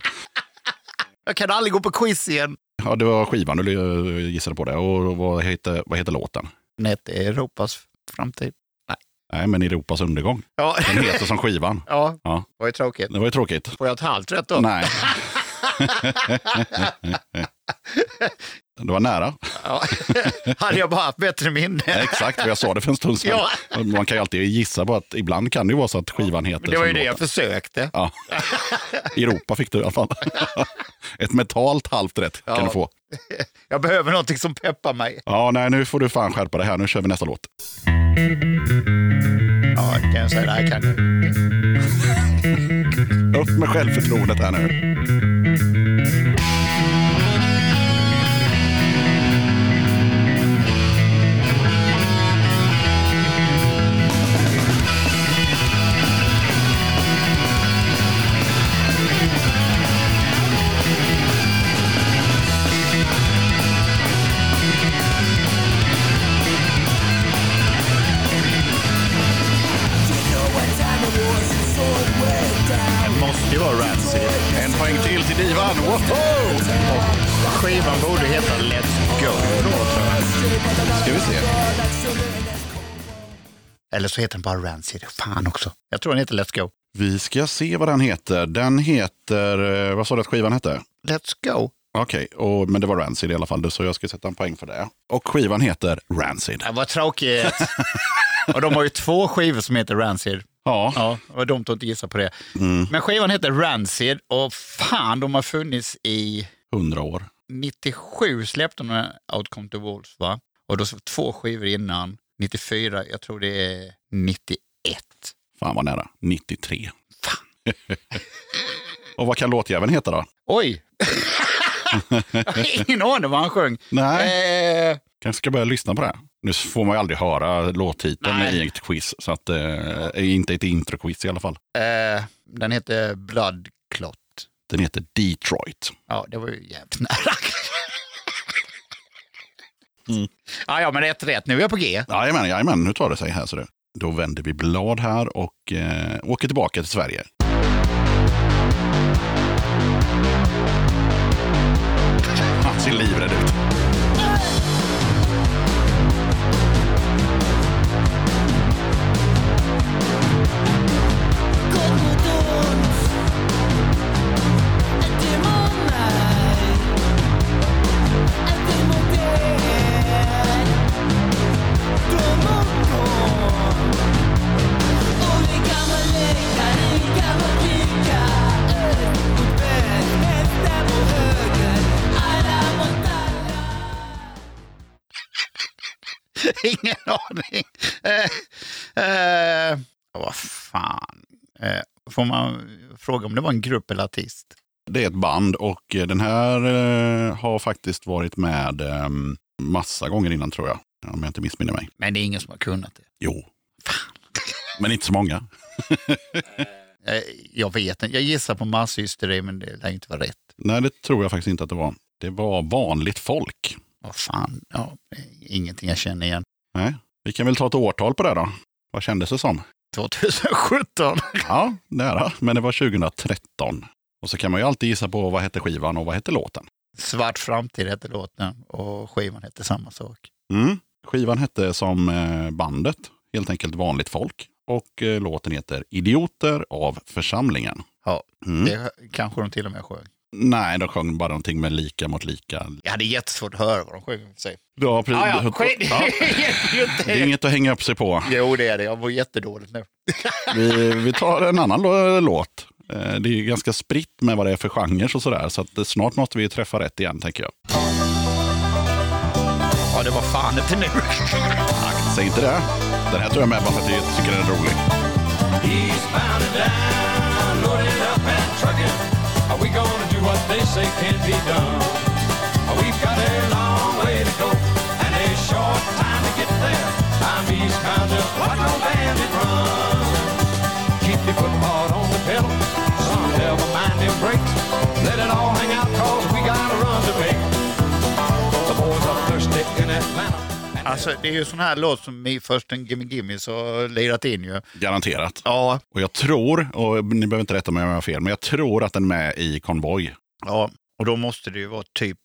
S1: Jag kan aldrig gå på quiz igen.
S2: Ja, det var skivan du eh, gissade på det. Och vad heter, vad heter låten?
S1: Nät är Europas framtid.
S2: Nej, men Europas undergång.
S1: Ja,
S2: Den heter som skivan.
S1: ja.
S2: Ja.
S1: var ju tråkigt.
S2: Det var ju tråkigt.
S1: Får jag ett halvt rätt då?
S2: Nej. Det var nära.
S1: Ja. Hade jag bara haft bättre minne.
S2: Exakt vad jag sa det för en stund sedan.
S1: Ja.
S2: Man kan ju alltid gissa på att ibland kan det ju vara så att skivan heter
S1: Men det var ju
S2: som
S1: det jag
S2: låten.
S1: försökte.
S2: Ja. Europa fick du i alla fall. Ett metalt halvt rätt kan
S1: Ja.
S2: du få.
S1: Jag behöver någonting som peppar mig.
S2: Ja, nej, nu får du fan skärpa det här. Nu kör vi nästa låt.
S1: Ja, det kan jag säga. Det här kan jag.
S2: Upp med självförtroendet här nu.
S1: Det måste ju vara Rancid.
S2: En poäng till till divan. Woho!
S1: Skivan borde heta Let's Go då, tror jag.
S2: Ska vi se.
S1: Eller så heter den bara Rancid. Fan också. Jag tror den heter Let's Go.
S2: Vi ska se vad den heter. Den heter... eh, Vad sa du att skivan hette?
S1: Let's Go.
S2: Okej, och- men det var Rancid i alla fall, så jag ska sätta en poäng för det. Och skivan heter Rancid.
S1: Ja, vad tråkigt. och de har ju två skivor som heter Rancid.
S2: Ja,
S1: Ja, det var dumt att inte gissa på det. Men skivan heter Rancid och fan, de har funnits i
S2: 100 år.
S1: 97 släppte de den Out Come The Wolves, va? Och då så två skivor innan, 94, jag tror det är 91.
S2: Fan vad nära. 93.
S1: Fan.
S2: och vad kan låtjäveln heta då?
S1: Oj! jag har ingen aning vad han sjöng.
S2: Nej.
S1: Eh,
S2: Kanske ska börja lyssna på det. här. Nu får man ju aldrig höra låttiteln
S1: Nej.
S2: i ett quiz, så att, eh, inte ett introquiz i alla fall.
S1: eh, den heter Blood Clot.
S2: Den heter Detroit.
S1: Ja, det var ju jävligt nära. Ja, ja, men ett rätt. Nu är jag på G.
S2: Jajamän, jajamän, nu tar det sig här. Så du. Då vänder vi blad här och eh, åker tillbaka till Sverige. Han ser livrädd ut.
S7: Olika mörker, lika
S1: Ingen aning. Eh, eh, vad fan. Eh, får man fråga om det var en grupp eller artist?
S2: Det är ett band och eh, den här eh, har faktiskt varit med eh, massa gånger innan tror jag. Om jag inte missminner mig.
S1: Men det är ingen som har kunnat det.
S2: Jo. Men inte så många.
S1: Eh, jag vet inte. Jag gissar på masshysteri, men det lär ju inte vara rätt.
S2: Nej, det tror jag faktiskt inte att det var. Det var vanligt folk.
S1: Vad fan. Ja, eh, ingenting jag känner igen.
S2: Nej. Vi kan väl ta ett årtal på det då. Vad kändes det som?
S1: 2017.
S2: Ja, nära. Men det var 2013. Och så kan man ju alltid gissa på vad hette skivan och vad hette låten.
S1: Svart framtid hette låten och skivan hette samma sak.
S2: Mm. Skivan hette som eh, bandet, helt enkelt Vanligt folk. Och eh, låten heter Idioter av församlingen.
S1: Ja,
S2: Mm.
S1: det kanske de till och med sjöng.
S2: Nej, de sjöng bara någonting med lika mot lika.
S1: Jag hade jättesvårt att höra vad de sjöng. i och för sig.
S2: Ja, precis.
S1: Ja, ja, skit.
S2: Ja, det är inget att hänga upp sig på.
S1: Jo, det är det. Jag mår jättedåligt nu.
S2: Vi, vi tar en annan lå- låt. Eh, Det är ju ganska spritt med vad det är för genre och sådär. Så att eh, snart måste vi ju träffa rätt igen, tänker jag.
S1: Ja, det var fan inte nu.
S2: Säg inte det. Den här tror jag med bara för att jag tycker den är rolig.
S8: He's bound and down, loaded up and trucking. Are we gonna do what they say can't be done? We've got a long way to go and a short time to get there. I'm eastbound just like no bandit run. Keep your foot hard on the pedal, some never mind them brakes. Let it all hang out cause we got a run to make. The boys are thirsty in Atlanta. and
S1: Alltså, det är ju sån här låt som Me First and Gimme Gimme så lirat in ju.
S2: Garanterat.
S1: Ja,
S2: Och jag tror, och ni behöver inte rätta mig om jag har fel, men jag tror att den är med i Konvoj.
S1: ja, och då måste det ju vara typ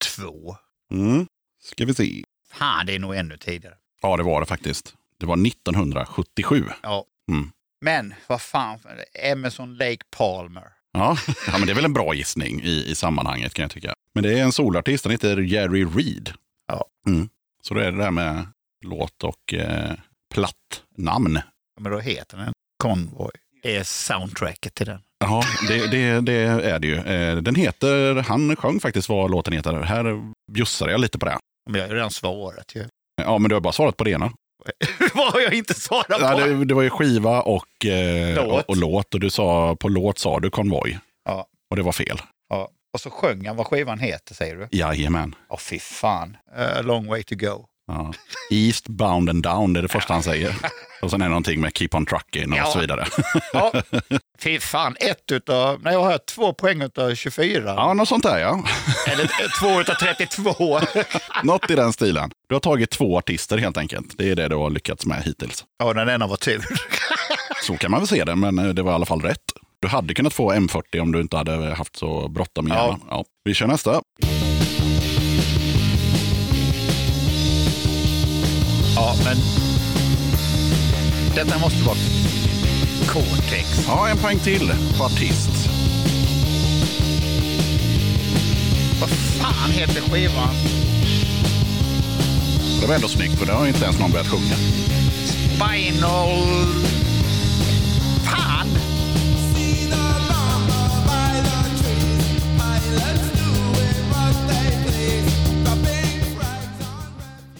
S1: 82.
S2: Mm. Ska vi se.
S1: Fan, det är nog ännu tidigare.
S2: Ja, det var det faktiskt. Det var 1977.
S1: Ja.
S2: Mm.
S1: Men vad fan, Emerson Lake Palmer.
S2: Ja. ja, men det är väl en bra gissning i, i sammanhanget kan jag tycka. Men det är en solartist, han heter Jerry Reed.
S1: Ja.
S2: Mm. Så då är det där med låt och eh, plattnamn.
S1: Ja, Men då heter den Convoy. Det är soundtracket till den.
S2: Ja, det, det, det är det ju. Eh, Den heter, han sjöng faktiskt vad låten heter. Här bjussar jag lite på det.
S1: Men jag har ju redan svarat ju.
S2: Ja, men du har bara svarat på det ena.
S1: vad har jag inte svarat på?
S2: Ja, det, det var ju skiva och, eh,
S1: Låt.
S2: och, och låt. Och du sa, på låt sa du konvoj.
S1: Ja.
S2: Och det var fel.
S1: Ja. Och så sjöng han vad skivan heter, säger du?
S2: Jajamän.
S1: Ja, fy fan. Eh, A long way to go.
S2: Ja. East bound and down det är det första han säger. Och sen är det någonting med keep on trucking och
S1: Ja.
S2: så vidare.
S1: Ja, fy fan. Ett utav, nej jag har två poäng utav 24.
S2: Ja, något sånt där ja.
S1: Eller t- två utav 32.
S2: Något i den stilen. Du har tagit två artister helt enkelt. Det är det du har lyckats med hittills.
S1: ja, den ena var tur.
S2: Så kan man väl se det, men eh, det var i alla fall rätt. Du hade kunnat få M40 om du inte hade haft så bråttom med
S1: Ja.
S2: hjärnan. Ja. Vi kör nästa.
S1: Ja, men detta måste vara Cortex.
S2: Ja, en poäng till på artist.
S1: Vad fan heter skivan?
S2: Det var ändå snyggt, för det har inte ens någon börjat sjunga.
S1: Spinal... Fan!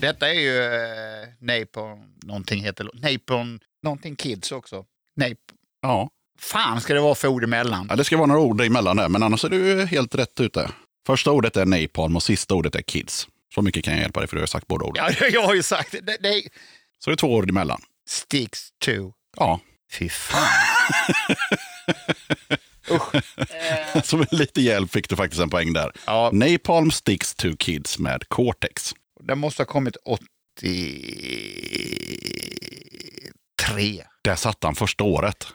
S1: Detta är ju eh, Napalm någonting heter lå- Napalm någonting Kids också. Nap...
S2: Ja.
S1: Fan ska det vara för ord emellan.
S2: ja, det ska vara några ord emellan där, men annars är du helt rätt ute. Första ordet är napalm och sista ordet är kids. Så mycket kan jag hjälpa dig, för du har sagt båda orden.
S1: Ja, jag har ju sagt det. det. det är...
S2: Så det är två ord emellan.
S1: Sticks to.
S2: Ja,
S1: Fy fan.
S2: som lite hjälp fick du faktiskt en poäng där.
S1: Ja,
S2: Napalm sticks to kids med Cortex.
S1: det måste ha kommit 83.
S2: Där satt han första året.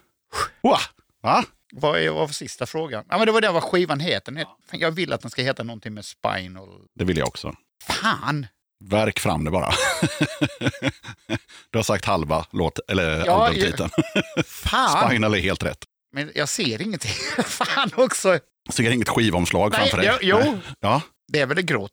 S2: Wow. Va?
S1: Vad är, vad var sista frågan? Ja, men det var det vad skivan heter. Den heter- fan, Jag vill att den ska heta någonting med Spinal.
S2: Det vill jag också.
S1: Fan!
S2: Värk fram det bara. du har sagt halva låt, eller
S1: Ja,
S2: albumtiteln.
S1: Fan!
S2: Spinal är helt rätt.
S1: Men jag ser ingenting. fan också!
S2: Så det är inget skivomslag
S1: Nej,
S2: framför dig.
S1: jo- jo.
S2: Nej. Ja,
S1: Det är väl det grått?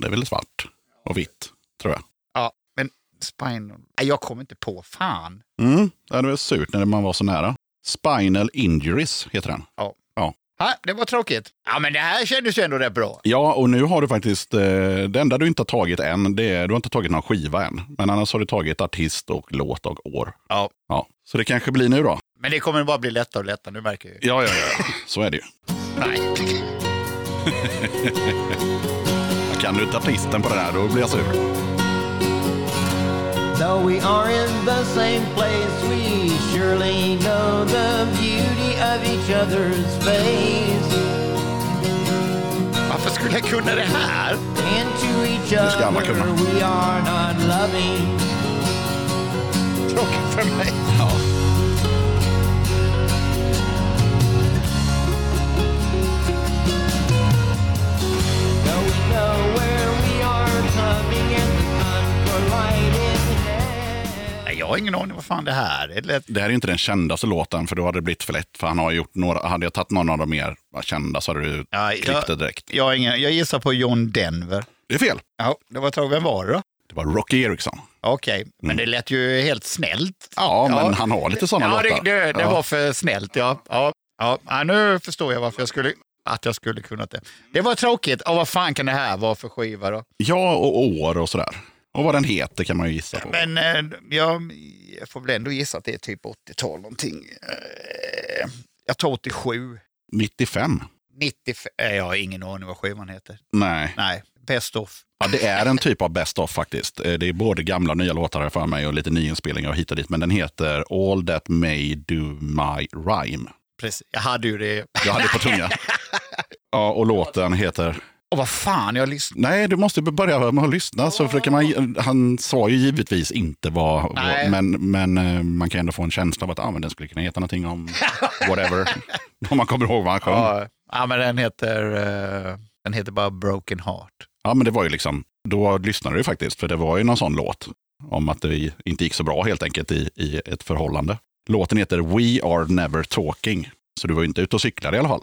S2: det är väl svart och vitt, tror jag.
S1: Ja, men Spinal. Nej, jag kommer inte på. Fan!
S2: Mm. Ja, det var surt när man var så nära. Spinal Injuries heter den.
S1: Ja. Ja, det var tråkigt. Ja, men det här kändes ju ändå rätt bra.
S2: Ja, och nu har du faktiskt, eh, det enda du inte har tagit än, det är, du har inte tagit någon skiva än. Men annars har du tagit artist och låt och år.
S1: Ja.
S2: Ja, så det kanske blir nu då.
S1: Men det kommer bara bli lättare och lättare, nu märker jag ju.
S2: Ja, ja, ja. Så är det ju.
S1: Nej.
S2: Kan du inte artisten på det där, då blir jag sur.
S9: Though we are in the same place, we surely know the beauty of each other's face.
S1: Varför skulle jag kunna det här?
S9: Into each
S2: ska alla
S9: other,
S2: kunna.
S9: we are not loving.
S1: Tråkigt för mig.
S9: Though we know where we are coming and the time for light in hand.
S1: Nej, jag har ingen aning vad fan det här är. Det lät-
S2: Det här är ju inte den kändaste låten, för då hade det blivit för lätt. För han har gjort några, hade jag tagit någon av de mer kända så hade du
S1: Ja,
S2: klippt
S1: jag-
S2: det direkt.
S1: Jag, har ingen, jag gissar på John Denver.
S2: Det är fel.
S1: Ja, det var tråkigt. Vem var det då?
S2: Det var Rocky Eriksson.
S1: Okej, men det lät ju helt snällt.
S2: Mm. Ja, men
S1: Ja.
S2: han har lite sådana
S1: Ja, det,
S2: låtar.
S1: det, det
S2: Ja.
S1: var för snällt. Ja. Ja, ja. ja, nu förstår jag varför jag skulle, att jag skulle kunnat det. Det var tråkigt. Ja, vad fan kan det här vara för skiva då?
S2: Ja, och år och sådär. Och vad den heter kan man ju gissa på.
S1: Men eh, jag, jag får väl ändå gissa att det är typ 80-tal någonting. Eh, jag tar 87.
S2: 95?
S1: 95. eh, Jag har ingen aning vad skivan heter.
S2: Nej.
S1: Nej, Best of.
S2: Ja, det är en typ av best of faktiskt. Eh, Det är både gamla och nya låtar här för mig och lite nyinspelningar och hit och dit. Men den heter All That May Do My Rhyme.
S1: Precis. Jag hade ju det.
S2: Jag hade det på tunga. Ja, och låten heter...
S1: Och vad fan, jag lyssnade.
S2: Nej, du måste börja med att lyssna. Så försöker man... Han sa ju givetvis inte vad...
S1: Nej.
S2: Men, men eh, man kan ändå få en känsla av att ah, men den skulle kunna heta någonting om whatever. om man kommer ihåg vad han sjöng. Ja.
S1: Ja, ja, men den heter, eh, den heter bara Broken Heart.
S2: men det var ju liksom... Då lyssnade du faktiskt, för det var ju någon sån låt. Om att det inte gick så bra helt enkelt i, i ett förhållande. Låten heter We Are Never Talking. Så du var ju inte ute och cyklade i alla fall.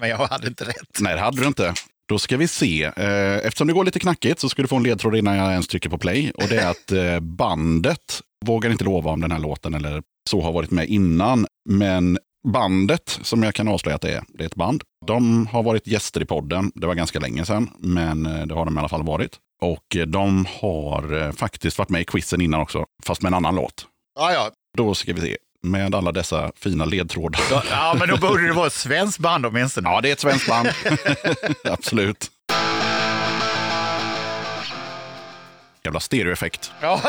S1: men jag hade inte rätt.
S2: Nej, det hade du inte. Då ska vi se. Eh, Eftersom det går lite knackigt så ska du få en ledtråd innan jag ens trycker på play. Och det är att eh, bandet vågar inte lova om den här låten eller så har varit med innan. Men bandet som jag kan avslöja att det är, det är ett band. De har varit gäster i podden. Det var ganska länge sedan, men eh, det har de i alla fall varit. Och eh, de har eh, faktiskt varit med i quizen innan också, fast med en annan låt.
S1: Ja, ja.
S2: Då ska vi se. Med alla dessa fina ledtrådar.
S1: Ja, ja, men då borde det vara ett svenskt band åtminstone.
S2: Ja, det är ett svenskt band. Absolut. Jävla stereoeffekt.
S1: Ja.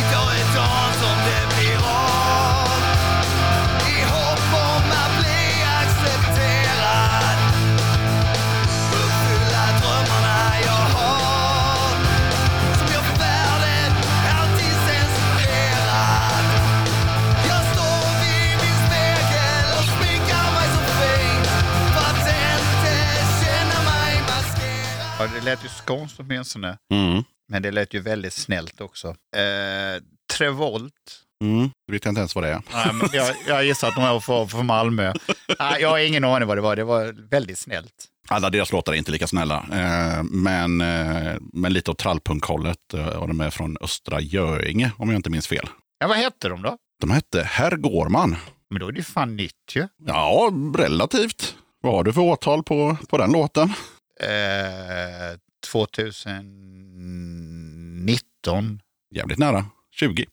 S7: Idag är dagen som det blir av I hopp om att bli accepterad Uppfylla drömmarna jag har Som jag för världen alltid censurerat Jag står vid min spegel och sminkar mig så fint För att inte känna mig maskerad
S1: Ja, det lät ju skånskt åtminstone,
S2: Mm.
S1: men det lät ju väldigt snällt också. Eh, Trevolt.
S2: Mm. Du vet inte ens vad det är.
S1: Nej, men jag, jag gissar att de är från, från Malmö. Nej, jag har ingen aning vad det var. Det var väldigt snällt.
S2: Alla deras låtar är inte lika snälla. Eh, men, eh, men lite åt trallpunkhållet. Eh, och de är från Östra Göinge, om jag inte minns fel.
S1: Ja, vad hette de då?
S2: De hette Herr Gårman.
S1: Men då är det ju fan nytt ju.
S2: Ja, relativt. Vad har du för åtal på, på den låten?
S1: Eh, 2019.
S2: Jävligt nära. 20.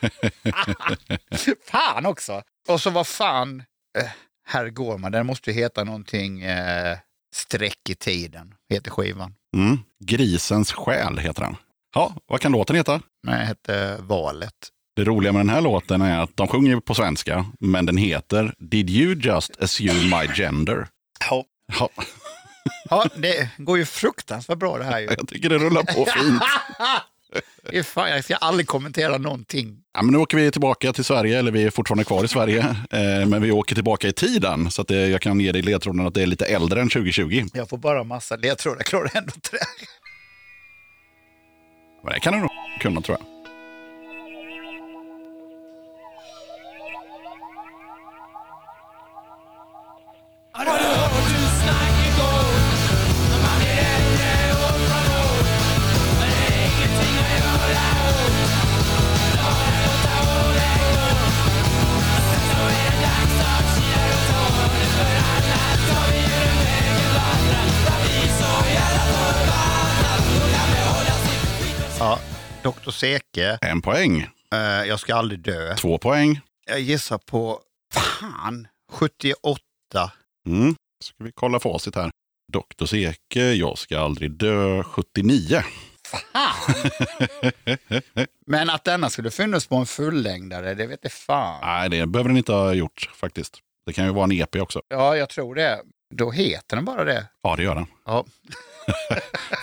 S1: Fan också! Och så vad fan, eh, här går man. Den måste ju heta någonting eh, Sträck i tiden, heter skivan.
S2: Mm. Grisens själ heter den. Ja, vad kan låten heta?
S1: Men den hette Valet.
S2: Det roliga med den här låten är att de sjunger på svenska, men den heter Did you just assume my gender?
S1: Ja.
S2: Ja,
S1: Ja, det går ju fruktansvärt bra det här ju.
S2: jag tycker det rullar på fint.
S1: Det är fan, jag ska aldrig kommentera någonting.
S2: Ja, men nu åker vi tillbaka till Sverige, eller vi är fortfarande kvar i Sverige, eh, men vi åker tillbaka i tiden. Så att det, jag kan ge dig ledtråden att det är lite äldre än 2020.
S1: Jag får bara massa ledtrådar, jag klarar ändå inte det.
S2: Men det kan du nog kunna tror jag.
S7: Har du
S1: Ja, Dr. Seke,
S2: En poäng.
S1: eh, Jag ska aldrig dö.
S2: Två poäng.
S1: Jag gissar på, fan, 78.
S2: Mm. Ska vi kolla facit här. Doktor Seke, Jag ska aldrig dö, 79.
S1: Men att denna skulle funnits på en fullängdare, det vet jag fan.
S2: Nej, det behöver den inte ha gjort faktiskt. Det kan ju vara en EP också.
S1: Ja, jag tror det. Då heter den bara det.
S2: Ja, det gör den.
S1: Ja,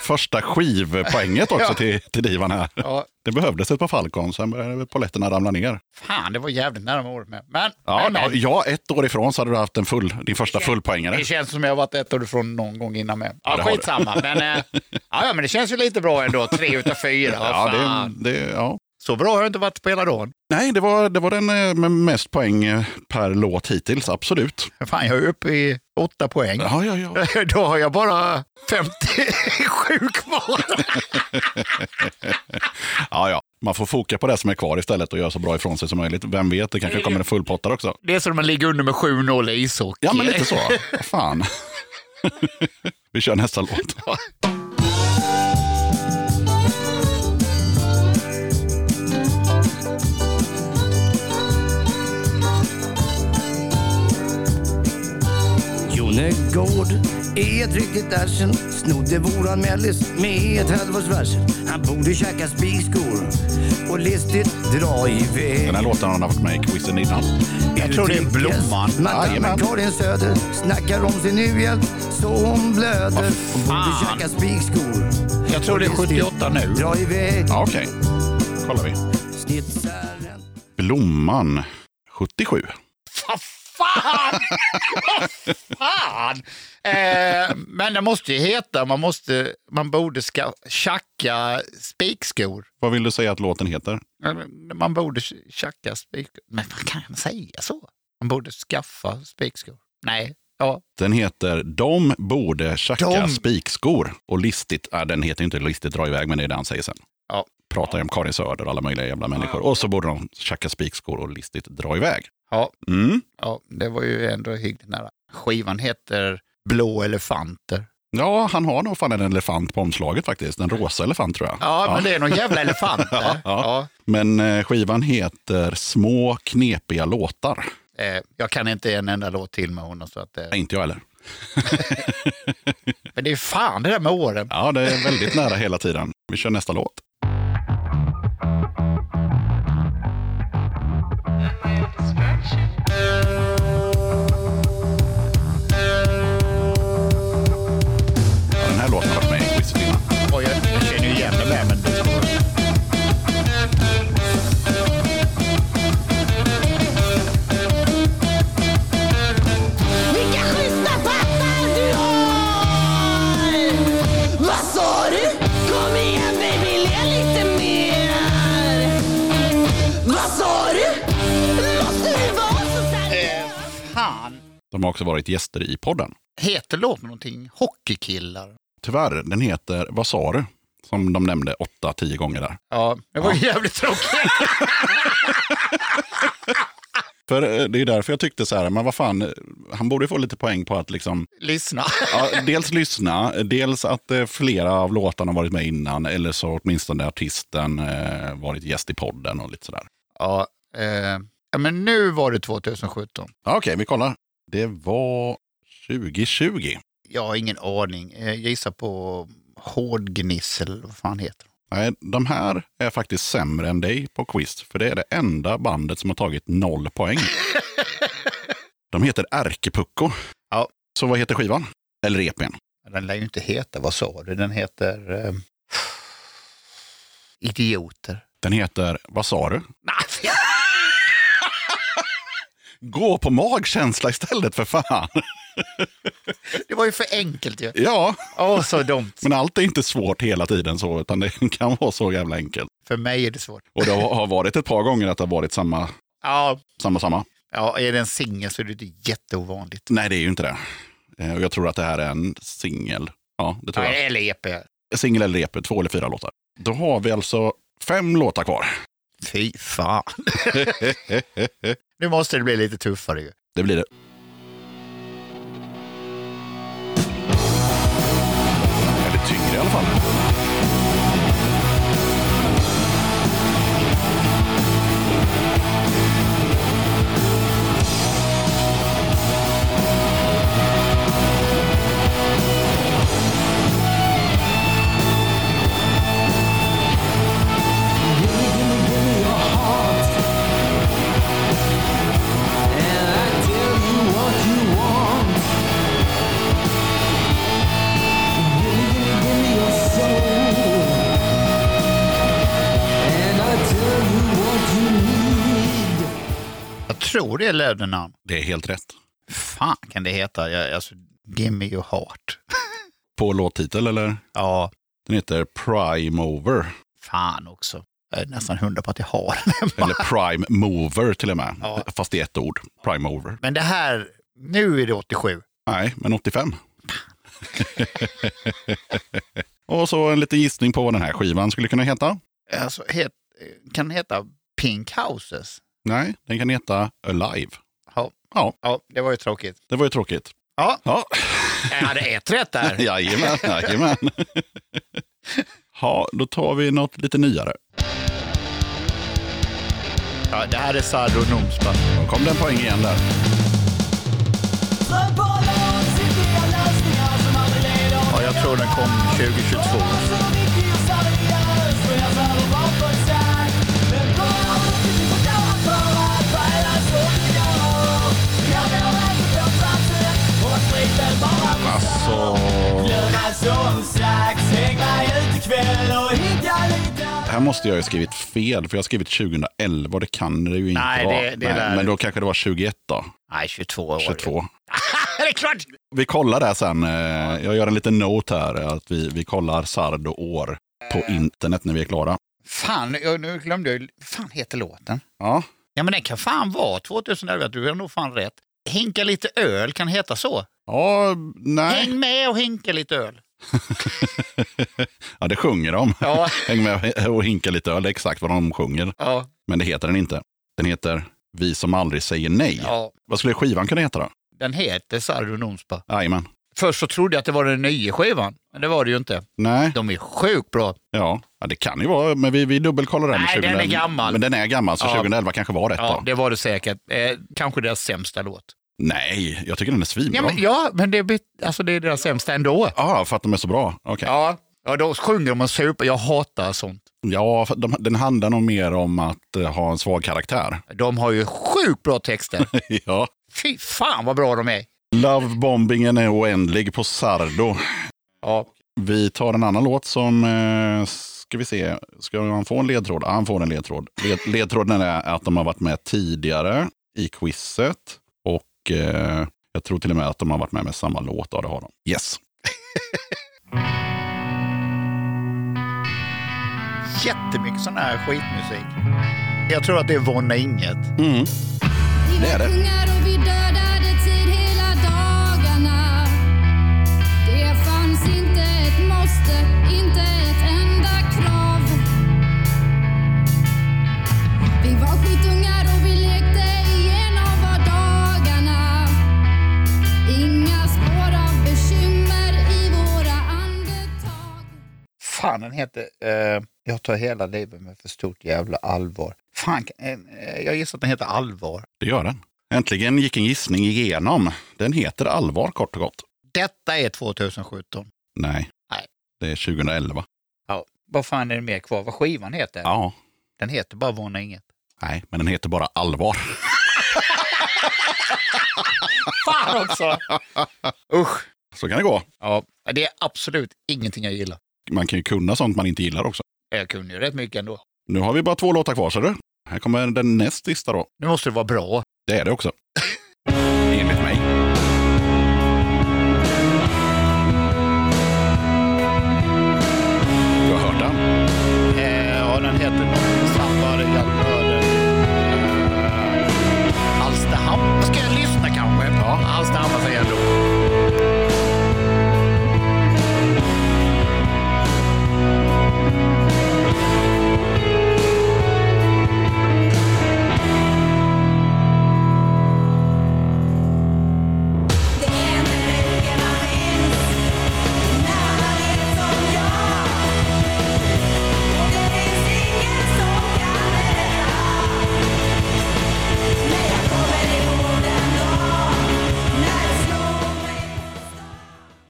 S2: Första skivpoänget också
S1: Ja.
S2: till, till divan här.
S1: ja.
S2: Det behövdes ett par Falcon, sen började poletterna ramla ner.
S1: Fan, det var jävligt nära med året med. Men,
S2: Ja,
S1: men,
S2: ja,
S1: men.
S2: ja, ett år ifrån så hade du haft en full, din första fullpoängare.
S1: Det känns som jag har varit ett år ifrån någon gång innan med.
S2: Ja,
S1: Ja,
S2: det har du.
S1: skitsamma. Men, eh, ja, ja, men det känns ju lite bra ändå. Tre utav fyra.
S2: Ja,
S1: Ja,
S2: det,
S1: fan.
S2: det, ja.
S1: Så bra har jag inte varit på hela dagen.
S2: Nej, det var, det var den eh, med mest poäng eh, per låt hittills, absolut.
S1: Fan, jag är uppe i åtta poäng.
S2: Ja, ja, ja.
S1: Då har jag bara 57 kvar.
S2: ja, ja. Man får foka på det som är kvar istället och göra så bra ifrån sig som möjligt. Vem vet, det kanske kommer en fullpottare också.
S1: Det är som när man ligger under med 7-0 i ishockey.
S2: Ja, men lite så. Vad Fan. Vi kör nästa låt.
S7: Jonegård är ett riktigt arsel Snodde våran mellis med ett halvårs varsel Han borde käka spikskor och listigt dra iväg
S2: Den här låten har han haft med i quizen innan.
S1: Jag tror det är Blomman.
S7: Madame
S2: Jajamän.
S7: Karin Söder snackar om sin u-hjälp så hon blöder Hon borde
S1: fan.
S7: käka spikskor
S1: Jag tror det är 78 nu.
S7: Dra iväg
S2: Ja, okej. kollar vi.
S7: Snitsar en
S2: Blomman, 77.
S1: Vad fan! Vad fan! Eh, men det måste ju heta, man, måste, man borde ska, tjacka spikskor.
S2: Vad vill du säga att låten heter?
S1: Eller, Man borde tjacka spikskor. Men man kan man säga så? Man borde skaffa spikskor. Nej, ja.
S2: Den heter De borde tjacka
S1: De-
S2: spikskor. Och listigt, äh, den heter ju inte listigt dra iväg, men det är det han säger sen.
S1: Ja.
S2: Pratar ju om Karin Söder och alla möjliga jävla människor. Och så borde de tjacka spikskor och listigt dra iväg.
S1: Ja,
S2: Mm.
S1: ja, det var ju ändå hyggligt nära. Skivan heter Blå elefanter.
S2: Ja, han har nog fan en elefant på omslaget faktiskt. En rosa elefant tror jag.
S1: Ja, men det är någon jävla elefant
S2: Ja,
S1: där.
S2: ja.
S1: Ja.
S2: Men eh, skivan heter Små knepiga låtar.
S1: Eh, jag kan inte en enda låt till med honom. Så att, eh.
S2: Nej, inte jag heller.
S1: Men det är fan det där med åren.
S2: Ja, det är väldigt nära hela tiden. Vi kör nästa låt. Ja, Den här låten har varit med i quizet innan.
S1: Oj, jag, jag känner ju igen den där, men...
S3: Vilka schyssta pattar du har! Vad sa du? Kom igen baby, le lite mer! Vad sa du? Måste du vara så seriös?
S1: Eh, Fan.
S2: De har också varit gäster i podden.
S1: Heter låten någonting? Hockeykillar?
S2: Tyvärr, den heter Vad sa du? Som de nämnde åtta, tio gånger där.
S1: Ja, det var ju jävligt tråkigt.
S2: För eh, det är därför jag tyckte så här, men vad fan, eh, han borde få lite poäng på att liksom
S1: Lyssna.
S2: Ja, dels lyssna, dels att eh, flera av låtarna har varit med innan, eller så åtminstone artisten eh, varit gäst i podden och lite sådär.
S1: Ja, eh, ja, men nu var det 2017.
S2: Ja, Okej, vi kollar. Det var 2020.
S1: Jag har ingen aning. Eh, Jag gissar på Hårdgnissel, vad fan heter de?
S2: Nej, de här är faktiskt sämre än dig på quiz, för det är det enda bandet som har tagit noll poäng. de heter Ärkepucko.
S1: Ja.
S2: Så vad heter skivan? Eller E EPn?
S1: Den lär ju inte heta, vad sa du? Den heter... Eh, idioter.
S2: Den heter, vad sa du?
S1: Nej, fy-
S2: Gå på magkänsla istället för fan.
S1: det var ju för enkelt ju.
S2: ja.
S1: Åh, så dumt.
S2: Men allt är inte svårt hela tiden så, utan det kan vara så jävla enkelt.
S1: För mig är det svårt.
S2: Och det har varit ett par gånger att det har varit samma,
S1: Ja,
S2: samma, samma.
S1: ja är det en singel så är det inte jätteovanligt.
S2: Nej, det är ju inte det. Eh, Och jag tror att det här är en singel. Ja, det tror jag.
S1: Nej, Eller E EP.
S2: Singel eller EP, två eller fyra låtar. Då har vi alltså fem låtar kvar.
S1: Fy fan. Nu måste det bli lite tuffare ju.
S2: det blir det. Eller tyngre i alla fall.
S1: Jag tror det är Löddenan.
S2: Det är helt rätt.
S1: Fan kan det heta? Jag, alltså, Gimme your heart.
S2: På låttitel eller?
S1: Ja,
S2: Den heter Prime Over.
S1: fan också. Jag är nästan hundra på att jag har den hemma.
S2: Eller Prime Mover till och med.
S1: Ja.
S2: Fast i ett ord. Prime Over.
S1: Men det här, nu är det 87.
S2: Nej, men 85. Och så en liten gissning på vad den här skivan skulle kunna heta.
S1: Alltså, het, kan den heta Pink Houses?
S2: Nej, den kan heta Alive.
S1: Ja,
S2: Ja,
S1: ja det var ju tråkigt.
S2: det var ju tråkigt.
S1: Ja,
S2: Ja,
S1: jag hade ett rätt där.
S2: jajamän, jajamän. Ja, då tar vi något lite nyare.
S1: Ja, det här är Sadro Nomsba.
S2: Då kom den poäng igen där.
S1: Ja, jag tror den kom 2022.
S2: Alltså, det här måste jag ju ha skrivit fel, för jag har skrivit 2011 och det kan det ju inte
S1: Nej,
S2: vara.
S1: det- det är där.
S2: men då kanske det var 21 då,
S1: Nej, 22 år.
S2: 22.
S1: det är klart!
S2: Vi kollar det här sen. eh, Jag gör en liten note här, eh, att vi, vi kollar Sardo år på
S1: Eh.
S2: internet när vi är klara.
S1: Fan, jag, nu glömde jag ju- fan heter låten?
S2: Ja,
S1: Ja, men den kan fan vara 2011. Du har nog fan rätt. Hinka lite öl kan heta så.
S2: ja nej.
S1: Häng med och hinka lite öl.
S2: ja, det sjunger de.
S1: Ja.
S2: Häng med och hinka lite öl, det är exakt vad de sjunger.
S1: Ja,
S2: Men det heter den inte. Den heter Vi som aldrig säger nej.
S1: ja.
S2: Vad skulle skivan kunna heta då?
S1: Den heter Sardo Nomsba.
S2: Jajamän.
S1: Först så trodde jag att det var den nya skivan, men det var det ju inte.
S2: Nej,
S1: De är sjukt bra.
S2: ja. ja, det kan ju vara, men vi, vi dubbelkollar den. med
S1: Nej, den är
S2: 2011.
S1: gammal.
S2: Men den är gammal, så
S1: Ja.
S2: 2011 kanske var rätt
S1: Ja,
S2: då.
S1: det var det säkert. Eh, kanske deras sämsta låt.
S2: Nej, jag tycker den är svinbra.
S1: Ja, men, ja, men det, är bet- alltså, det är deras sämsta ändå.
S2: Ja, för att de är så bra. Okej.
S1: Ja, ja då sjunger de och super. Jag hatar sånt.
S2: Ja, för de, den handlar nog mer om att eh, ha en svag karaktär.
S1: De har ju sjukt bra texter.
S2: ja.
S1: Fy fan vad bra de är.
S2: Lovebombingen är oändlig på Sardo.
S1: Ja.
S2: Vi tar en annan låt som, eh, ska vi se, ska han få en ledtråd? Ja, han får en ledtråd. Led, ledtråden är att de har varit med tidigare i quizet och eh, jag tror till och med att de har varit med med samma låt. Ja, det har de. Yes.
S1: Jättemycket sån här skitmusik. Jag tror att det är Vonna Inget.
S2: Mm. Det är det.
S10: Kungar och vi dödade tid hela dagarna. Det fanns inte ett måste, inte ett enda krav. Vi var skitungar och vi lekte igenom vardagarna. Inga spår av bekymmer i våra andetag.
S1: Fan den heter eh, Jag tar hela livet med för stort jävla allvar. Fan, eh, jag gissar att den heter Allvar.
S2: Det gör den. Äntligen gick en gissning igenom. Den heter Allvar kort och gott.
S1: Detta är 2017.
S2: Nej.
S1: Nej.
S2: Det är 2011.
S1: Ja. Vad fan är det mer kvar? Vad skivan heter?
S2: Ja.
S1: Den heter bara Vonna Inget.
S2: Nej, men den heter bara Allvar.
S1: Fan också! Usch!
S2: Så kan det gå.
S1: Ja, det är absolut ingenting jag gillar.
S2: Man kan ju kunna sånt man inte gillar också.
S1: Jag kunde ju rätt mycket ändå.
S2: Nu har vi bara två låtar kvar, ser du. Här kommer den näst sista då.
S1: Nu måste det vara bra.
S2: Det är det också. Enligt mig. Du har hört den?
S1: Eh, ja, den heter någonting Sambar Hjalmar. eh, Hallstahammar. Ska jag lyssna kanske? Ja. Hallstahammar säger jag då.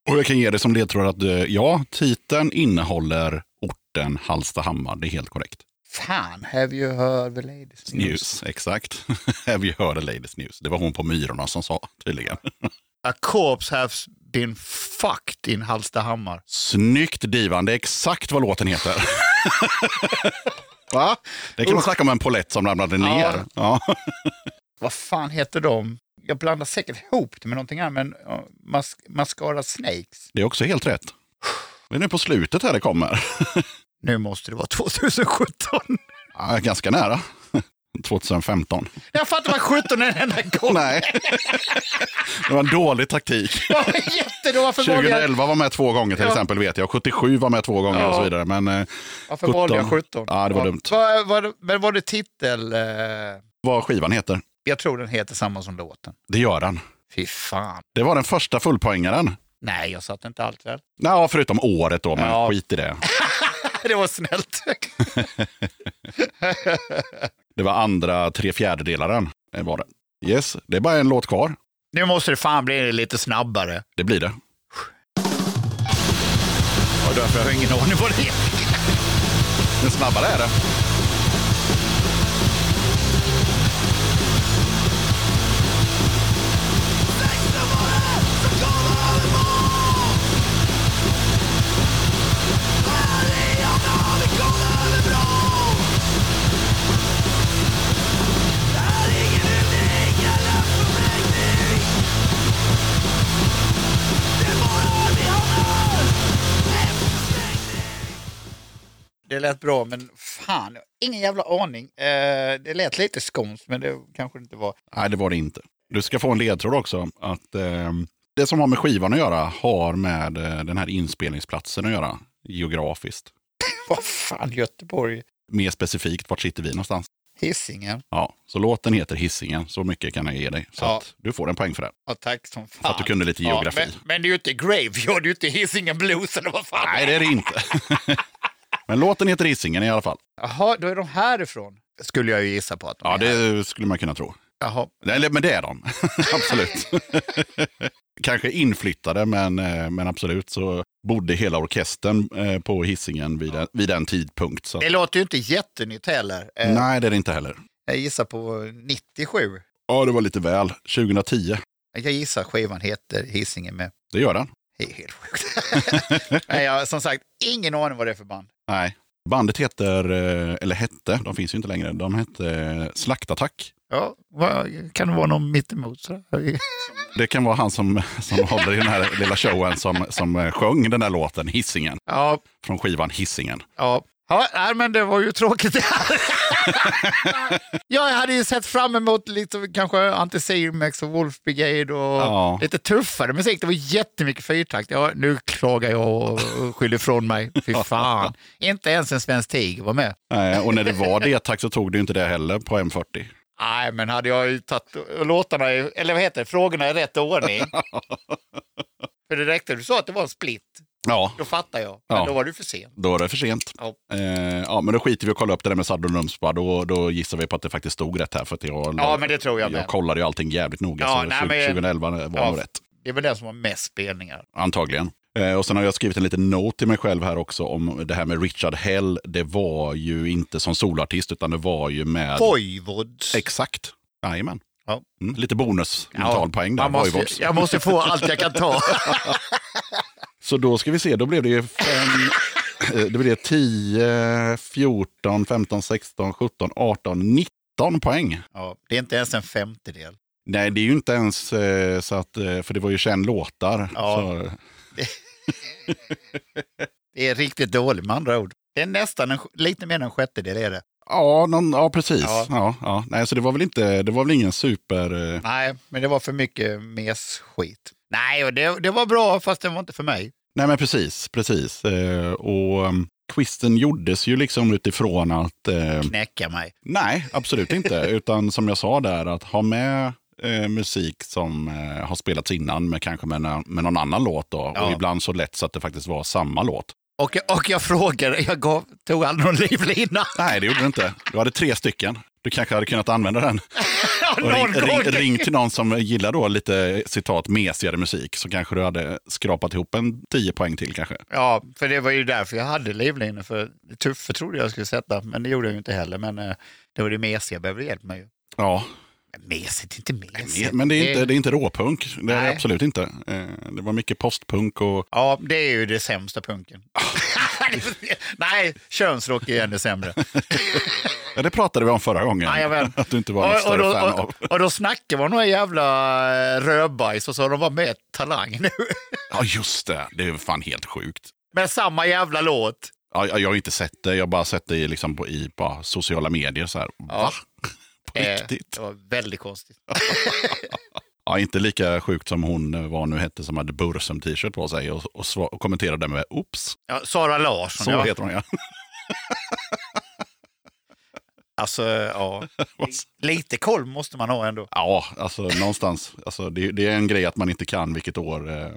S2: Och jag kan ge dig som ledtråd att eh, ja, titeln innehåller orten Hallstahammar. Det är helt korrekt.
S1: Fan, have you heard the ladies
S2: News, exakt. Have you heard the latest news? Det var hon på Myrorna som sa tydligen.
S1: A corpse has been fucked in Hallstahammar.
S2: Snyggt Divan, det är exakt vad låten heter. Va? Det kan man snacka om en polett som ramlade ner. Ja.
S1: Vad fan heter de? Jag blandar säkert ihop det med någonting annat, men ja, mas Mascara Snakes.
S2: Det är också helt rätt. Det är nu på slutet här det kommer.
S1: Nu måste det vara 2017.
S2: Ja, ganska nära. 2015.
S1: Jag fattar vad 17 är en enda gång.
S2: Nej. Det var en dålig taktik.
S1: Jag var jättedå, varför valde jag,
S2: 2011 var med två gånger till
S1: Ja.
S2: exempel vet jag. 77 var med två gånger
S1: Ja.
S2: och så vidare. Men eh,
S1: varför valde jag
S2: 17?
S1: 17?
S2: Ja, det var dumt.
S1: Vad- vad- Men var det titel? eh,
S2: vad skivan heter,
S1: Jag tror den heter samma som låten.
S2: det gör den.
S1: Fy fan.
S2: Det var den första fullpoängaren.
S1: Nej, jag satte inte allt väl.
S2: Ja, förutom året då, men
S1: Ja.
S2: skit i det.
S1: Det var snällt.
S2: Det var andra tre fjärdedelaren. eh, Var det. Yes, det är bara en låt kvar.
S1: Nu måste det fan bli lite snabbare.
S2: Det blir det.
S1: Och därför har jag ingen aning vad det är.
S2: Men snabbare är det.
S1: Det lät bra, men fan, jag har ingen jävla aning. Eh, det lät lite skånskt, men det kanske det inte var.
S2: Nej, det var det inte. Du ska få en ledtråd också. Att, ehm, det som har med skivan att göra har med eh, den här inspelningsplatsen att göra geografiskt.
S1: Vad fan, Göteborg?
S2: Mer specifikt, vart sitter vi någonstans?
S1: Hisingen?
S2: Ja, så låten heter Hisingen. Så mycket kan jag ge dig. Så
S1: Ja.
S2: att du får en poäng för det.
S1: Ja, tack som fan.
S2: För att du kunde lite geografi.
S1: Ja, men, men det är ju inte Graveyard, det är ju inte Hisingen Blues eller vad fan.
S2: Nej, det är det inte. men låten heter Hisingen i alla fall.
S1: Jaha, då är de härifrån. Skulle jag ju gissa på att de
S2: Ja,
S1: är
S2: det skulle man kunna tro.
S1: Jaha.
S2: Eller, men det är de. absolut. Kanske inflyttade, men, eh, men absolut så bodde hela orkestern eh, på Hisingen vid, den- vid den tidpunkt. Så. att-
S1: Det låter ju inte jättenytt heller. Eh,
S2: Nej, det är det inte heller.
S1: Jag gissar på 97.
S2: Ja, det var lite väl. 2010.
S1: Jag gissar skivan heter Hisingen med.
S2: Det gör den.
S1: Det är helt sjukt. Nej, jag har som sagt ingen aning vad det är för band.
S2: Nej. Bandet heter, eh, eller hette, de finns ju inte längre, de hette eh, Slaktattack.
S1: Ja, vad- kan det vara någon mittemot? sådär?
S2: Det kan vara han som, som håller i den här lilla showen som, som eh, sjöng den där låten Hisingen
S1: Ja,
S2: från skivan Hisingen.
S1: Ja. Ja, nej, men det var ju tråkigt det här. ja, jag hade ju sett fram emot lite kanske Anticimex och Wolf Brigade och
S2: Ja.
S1: lite tuffare musik. Det var jättemycket fyrtakt. Ja, nu klagar jag och skyller ifrån mig. Fy fan. inte ens en svensk tiger var med.
S2: Eh, Och när det var det tack så tog det ju inte det heller på M40.
S1: Nej, men hade jag ju tagit låtarna, i, eller vad heter det, frågorna i rätt ordning. för det räckte, du sa att det var en split.
S2: Ja,
S1: Då fattar jag. Men
S2: Ja.
S1: då var du för sen.
S2: då är det för sent.
S1: Ja.
S2: Eh, ja, men då skiter vi och kollar upp det där med Saddle Rumspa. Då, då gissar vi på att det faktiskt stod rätt här. För att jag,
S1: Ja, men det tror jag med.
S2: jag kollade ju allting jävligt noga.
S1: Ja,
S2: så
S1: nej,
S2: tju-
S1: men-
S2: 2011 var
S1: Ja.
S2: nog rätt.
S1: Det är väl den som har mest spelningar.
S2: Antagligen. Eh, Och sen har jag skrivit en liten note till mig själv här också om det här med Richard Hell. Det var ju inte som solartist utan det var ju med...
S1: Voivods.
S2: Exakt. Jajamän.
S1: Ja.
S2: Mm, lite bonus mentalpoäng där.
S1: man måste,
S2: Voivods.
S1: jag måste få allt jag kan ta.
S2: Så då ska vi se, då blev det ju fem... eh, Det blev 10, 14, 15, 16, 17, 18, 19 poäng.
S1: ja, det är inte ens en femtedel.
S2: Nej, det är ju inte ens eh, så att, eh, för det var ju 21 låtar.
S1: Ja.
S2: Så,
S1: Det är riktigt dåligt med andra ord. Det är nästan en, lite mer än en sjättedel är det.
S2: ja, någon, ja precis.
S1: Ja.
S2: Ja. Ja, Nej, så det var väl inte, det var väl ingen super... eh,
S1: Nej, men det var för mycket mes-skit. Nej, och det, det var bra fast det var inte för mig.
S2: Nej men precis, precis. Eh, och um, quizen gjordes ju liksom utifrån att, eh,
S1: Knäcka mig.
S2: nej absolut inte, utan som jag sa där att ha med eh, musik som eh, har spelats innan med kanske med, na- med någon annan låt då.
S1: Ja.
S2: Och ibland så lätt så att det faktiskt var samma låt.
S1: Och, och jag frågade, jag gav, tog aldrig någon livlina.
S2: Nej det gjorde det inte. Du hade tre stycken. Du kanske hade kunnat använda den. Och ring,
S1: Någon gång.
S2: ring, ring till någon som gillar då lite eh, citat mesigare musik så kanske du hade skrapat ihop en 10 poäng till kanske.
S1: Ja, för det var ju därför jag hade livlinan. För tuffe trodde jag skulle sätta, men det gjorde jag ju inte heller. Men eh, det var det mesiga jag behövde hjälp med. ju.
S2: Ja,
S1: Men Mesigt, inte mesigt.
S2: men det är inte, det är inte råpunk. Det är det
S1: Nej.
S2: absolut inte. Eh, Det var mycket postpunk och...
S1: Ja, det är ju det sämsta punken. Nej, könsrock är ännu sämre.
S2: Ja, det pratade vi om förra gången.
S1: Jajamän.
S2: Att du inte var något
S1: och, och,
S2: större fan
S1: då,
S2: av.
S1: och, och då snackar man några jävla eh, rödbajs och så har de var med Talang nu.
S2: Ja, just det. Det är fan helt sjukt.
S1: med samma jävla låt.
S2: Ja, jag, jag har inte sett det. Jag har bara sett det i, liksom på, i bara sociala medier. Så här. Va? På
S1: Eh,
S2: riktigt?
S1: Det var väldigt konstigt.
S2: Ja, inte lika sjukt som hon eh, vad nu hette som hade Bursum-t-shirt på sig och, och, sva- och kommenterade med oops.
S1: Ja, Sara Larsson,
S2: Så
S1: ja.
S2: heter hon ja.
S1: Alltså, ja. Lite koll måste man ha ändå.
S2: Ja, alltså någonstans. Alltså, det, det är en grej att man inte kan vilket år eh,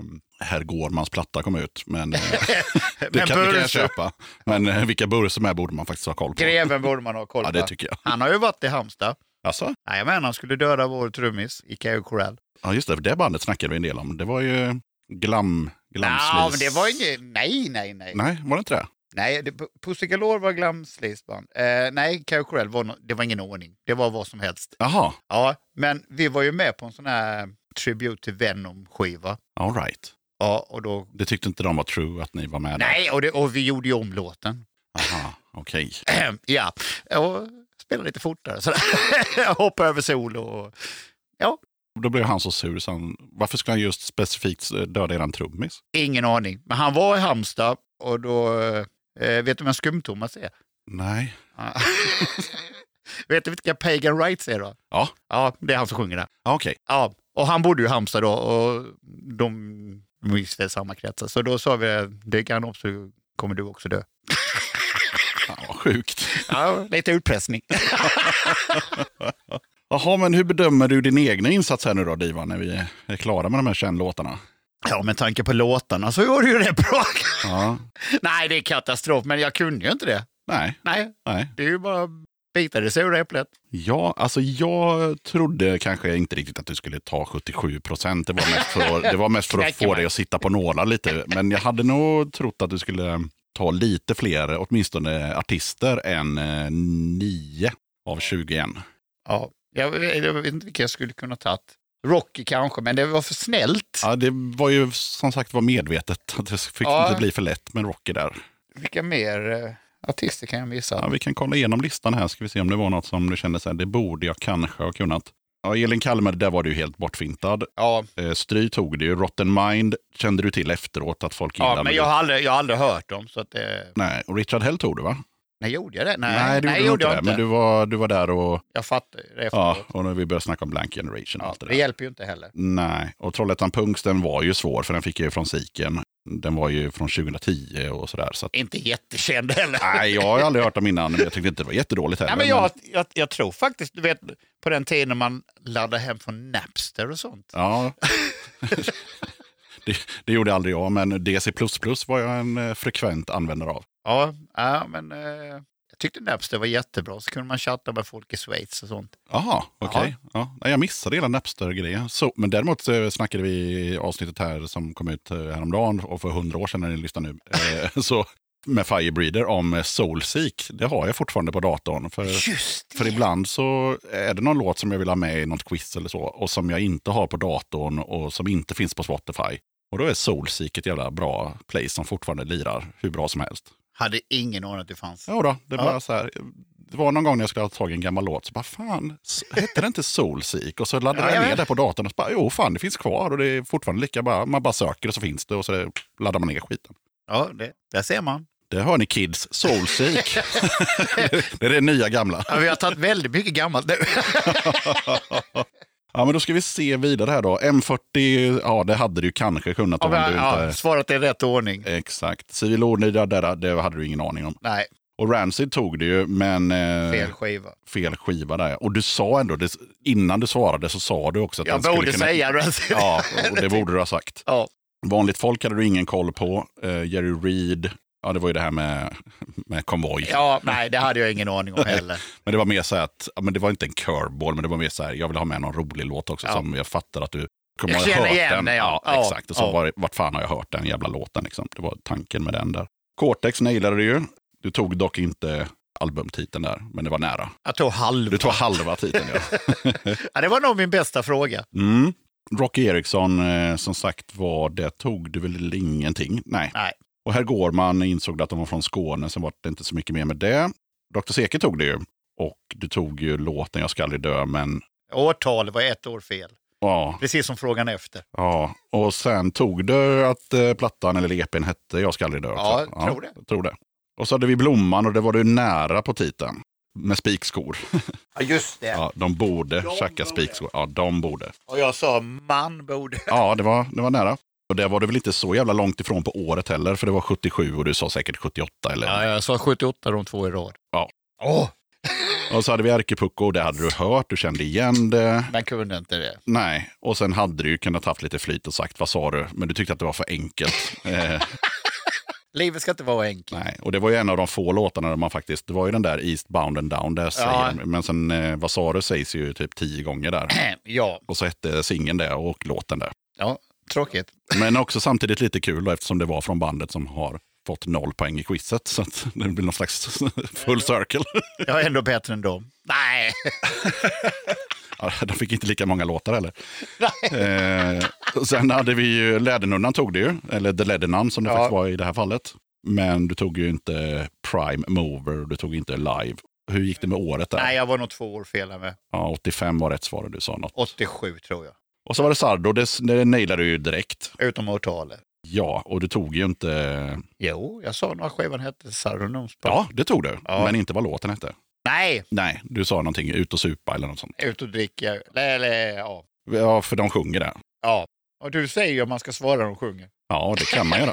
S2: Herr Gårdmans platta kom ut. Men eh, det,
S1: Men
S2: kan, det kan
S1: Bursum-
S2: jag köpa. Men eh, vilka Bursum är borde man faktiskt ha koll på.
S1: Greven borde man ha koll på.
S2: Ja, det tycker jag.
S1: Han har ju varit i Halmstad.
S2: Alltså?
S1: Jajamän, han skulle döda vår trummis i Cave Corral.
S2: Ja, just det. Det bandet snackade vi en del om. Det var ju glam...
S1: Ja, men
S2: glamslis.
S1: det var inget... Nej, nej, nej.
S2: Nej, var det inte det?
S1: Nej, det- Pussy Galore var glamslisband. Eh, nej, Cave Corral var, no... det var ingen ordning. Det var vad som helst.
S2: Jaha,
S1: Ja, men vi var ju med på en sån här Tribute till Venom-skiva.
S2: all right.
S1: Ja, och då...
S2: Det tyckte inte de var true att ni var med där?
S1: Nej, och, det, och vi gjorde ju om låten.
S2: Aha, okej.
S1: ja, och spelade lite fortare. sådär. Hoppade över solo och... Ja,
S2: Då blev han så sur så han, varför skulle han just specifikt eh, döda eran trummis?
S1: Ingen aning. Men han var i Halmstad och då... Eh, vet du vem Skum-Thomas är?
S2: Nej.
S1: Ja. vet du vilka Pagan Rights är då?
S2: Ja,
S1: Ja, det är han som sjunger där.
S2: ja, okej.
S1: Ja, och han bodde ju i Halmstad då och de gick väl samma kretsar. Så då sa vi det kan också, kommer du också dö.
S2: Fan vad sjukt.
S1: Ja, lite utpressning.
S2: Jaha, men hur bedömer du din egna insats här nu då, Diva, när vi är klara med de här känlåtarna?
S1: Ja, med tanke på låtarna så var det ju rätt bra.
S2: Ja.
S1: Nej, det är katastrof, men jag kunde ju inte det.
S2: Nej,
S1: Nej,
S2: nej.
S1: det är ju bara bitar i det sura äpplet.
S2: Ja, alltså jag trodde kanske inte riktigt att du skulle ta 77 procent. Det var mest för, att- det var mest för att
S1: Knäcker
S2: få
S1: man.
S2: dig att sitta på nålar lite. Men jag hade nog trott att du skulle ta lite fler, åtminstone artister, än 9 av 21.
S1: Ja, jag, jag vet inte vilka jag skulle kunna tagit. Rocky kanske, men det var för snällt.
S2: Ja, det var ju som sagt var medvetet. att Det fick
S1: Ja.
S2: inte bli för lätt med Rocky där.
S1: Vilka mer eh, artister kan jag missa?
S2: Ja, vi kan kolla igenom listan här, ska vi se om det var något som du kände så här, det borde jag kanske ha kunnat. Ja, Elin Kalmer, där var du ju helt bortfintad.
S1: Ja,
S2: Eh, Stry tog det ju. Rotten Mind kände du till efteråt att folk gillade.
S1: ja men jag har, aldrig, jag har aldrig hört dem. Så att, eh,
S2: Nej, och Richard Hell tog du va?
S1: nej, gjorde jag det? Nej,
S2: det
S1: nej
S2: du
S1: gjorde jag
S2: det,
S1: inte.
S2: Men du var, du var där och,
S1: Jag fattar ju det
S2: ja,
S1: efteråt.
S2: och när vi började snacka om Blank Generation och
S1: Ja,
S2: allt det
S1: det
S2: där.
S1: hjälper ju inte heller.
S2: Nej, och Trollhättan Punks den var ju svår för den fick jag ju från Siken. Den var ju från 2010 och sådär. Så att,
S1: Inte jättekänd heller.
S2: nej, jag har ju aldrig hört dem innan, men jag tyckte inte det var jättedåligt heller.
S1: Nej, men jag, jag, jag tror faktiskt, du vet, på den tiden man laddade hem från Napster och sånt.
S2: Ja. det, det gjorde aldrig jag, men DC++ var jag en eh, frekvent användare av.
S1: Ja, ja men eh, jag tyckte Napster var jättebra. Så kunde man chatta med folk i Schweiz och sånt.
S2: Jaha, okej. Ja. nej, jag missade hela Napster-grejen. Så, men däremot eh, snackade vi i avsnittet här som kom ut eh, häromdagen och för hundra år sedan när ni lyssnar nu. Eh, så, med Firebreeder om eh, Soulseek. Det har jag fortfarande på datorn. För,
S1: Just
S2: för ibland så är det någon låt som jag vill ha med i något quiz eller så och som jag inte har på datorn och som inte finns på Spotify. Och då är Soulseek ett jävla bra place som fortfarande lirar hur bra som helst.
S1: Hade ingen aning att det fanns.
S2: Ja, då, det,
S1: Ja.
S2: bara så här, det var någon gång när jag skulle ha tagit en gammal låt, så bara fan, s- hette det inte Soulseek? Och så laddade
S1: Ja, jag
S2: jag ner
S1: vet.
S2: det på datorn och så bara, jo fan, det finns kvar och det är fortfarande lika bra. Man bara söker och så finns det och så laddar man ner skiten.
S1: Ja, det, där ser man.
S2: Det hör ni kids, Soulseek. det är det nya gamla.
S1: Ja, vi har tagit väldigt mycket gammalt nu.
S2: Ja, men då ska vi se vidare här då. M40, ja det hade du kanske kunnat
S1: Ja,
S2: om du
S1: men, ja,
S2: inte...
S1: svarat i rätt ordning.
S2: Exakt. Civil Ordnidad, där, det hade du ingen aning om.
S1: Nej,
S2: Och Rancid tog det ju, men... eh,
S1: fel skiva.
S2: fel skiva där. Och du sa ändå, det, innan du svarade så sa du också att
S1: Jag
S2: den skulle
S1: borde
S2: kunna...
S1: säga det.
S2: Ja, och det borde du ha sagt.
S1: Ja.
S2: Vanligt folk hade du ingen koll på. Eh, Jerry Reed, Ja, det var ju det här med, med konvoj.
S1: Ja, nej, det hade jag ingen aning om heller.
S2: Men det var mer så här att, ja, men det var inte en curveball, men det var mer så här, jag vill ha med någon rolig låt också
S1: Ja.
S2: som jag fattar att du kommer
S1: Jag
S2: att ha
S1: känner
S2: hört
S1: igen
S2: den.
S1: den, ja. Ja,
S2: exakt. Och så
S1: ja.
S2: var, det- vart fan har jag hört den jävla låten liksom. Det var tanken med den där. Cortex nailade du ju. Du tog dock inte albumtiteln där, men det var nära.
S1: Jag tog halv.
S2: Du tog halva titeln ja.
S1: Ja, det var nog min bästa fråga.
S2: Mm. Rocky Eriksson, eh, som sagt var, det tog du väl ingenting? Nej.
S1: Nej.
S2: Och här går man insåg att de var från Skåne, sen var det inte så mycket mer med det. Dr. Seke tog det ju. Och du tog ju låten Jag ska aldrig dö, men
S1: Årtal var ett år fel.
S2: ja.
S1: Precis som frågan efter.
S2: ja. Och sen tog du att eh, plattan eller EPn hette Jag ska aldrig dö också.
S1: Ja, tror det.
S2: jag tror det. Och så hade vi Blomman och det var du nära på titeln. Med spikskor.
S1: Ja, just det.
S2: Ja, de borde tjacka spikskor. Ja, de borde.
S1: Och jag sa man borde.
S2: Ja, det var, det var nära. Och där var det väl inte så jävla långt ifrån på året heller, för det var 77 och du sa säkert 78 eller...
S1: Ja, jag sa 78 de två i rad.
S2: Ja.
S1: Åh,
S2: Och så hade vi Ärkepucko och det hade du hört, du kände igen det.
S1: man kunde inte det.
S2: Nej, och sen hade du ju kunnat haft lite flyt och sagt vad sa du, men du tyckte att det var för enkelt. eh,
S1: Livet ska inte vara enkelt.
S2: nej, och det var ju en av de få låtarna där man faktiskt, det var ju den där Eastbound and down, där säger, men sen eh, vad sa du sägs ju typ tio gånger där.
S1: Ja,
S2: Och så hette singeln det och låten det.
S1: ja, tråkigt.
S2: Men också samtidigt lite kul då, eftersom det var från bandet som har fått noll poäng i quizet. Så att det blir någon slags full circle.
S1: Jag är ändå bättre än dem. Nej,
S2: Ja, De fick inte lika många låtar heller. Eh, och sen hade vi ju Lädernunnan tog det ju, eller The Lädernan som det
S1: Ja.
S2: faktiskt var i det här fallet. Men du tog ju inte Prime Mover och du tog inte Live. Hur gick det med året där?
S1: Nej jag var nog två år fel här med.
S2: Ja, 85 var rätt svar och du sa något.
S1: 87 tror jag.
S2: Och så var det Sardo, det, det nailade du ju direkt.
S1: Utom årtalet.
S2: Ja, och du tog ju inte...
S1: Jo, jag sa några skivan hette Sarunums.
S2: Ja, det tog du,
S1: Ja.
S2: men inte vad låten hette.
S1: Nej,
S2: Nej, du sa någonting, ut och supa eller något sånt.
S1: ut och dricka. Eller, ja.
S2: Ja, för de sjunger det.
S1: ja. Och du säger ju om man ska svara när de sjunger.
S2: Ja, det kan man göra.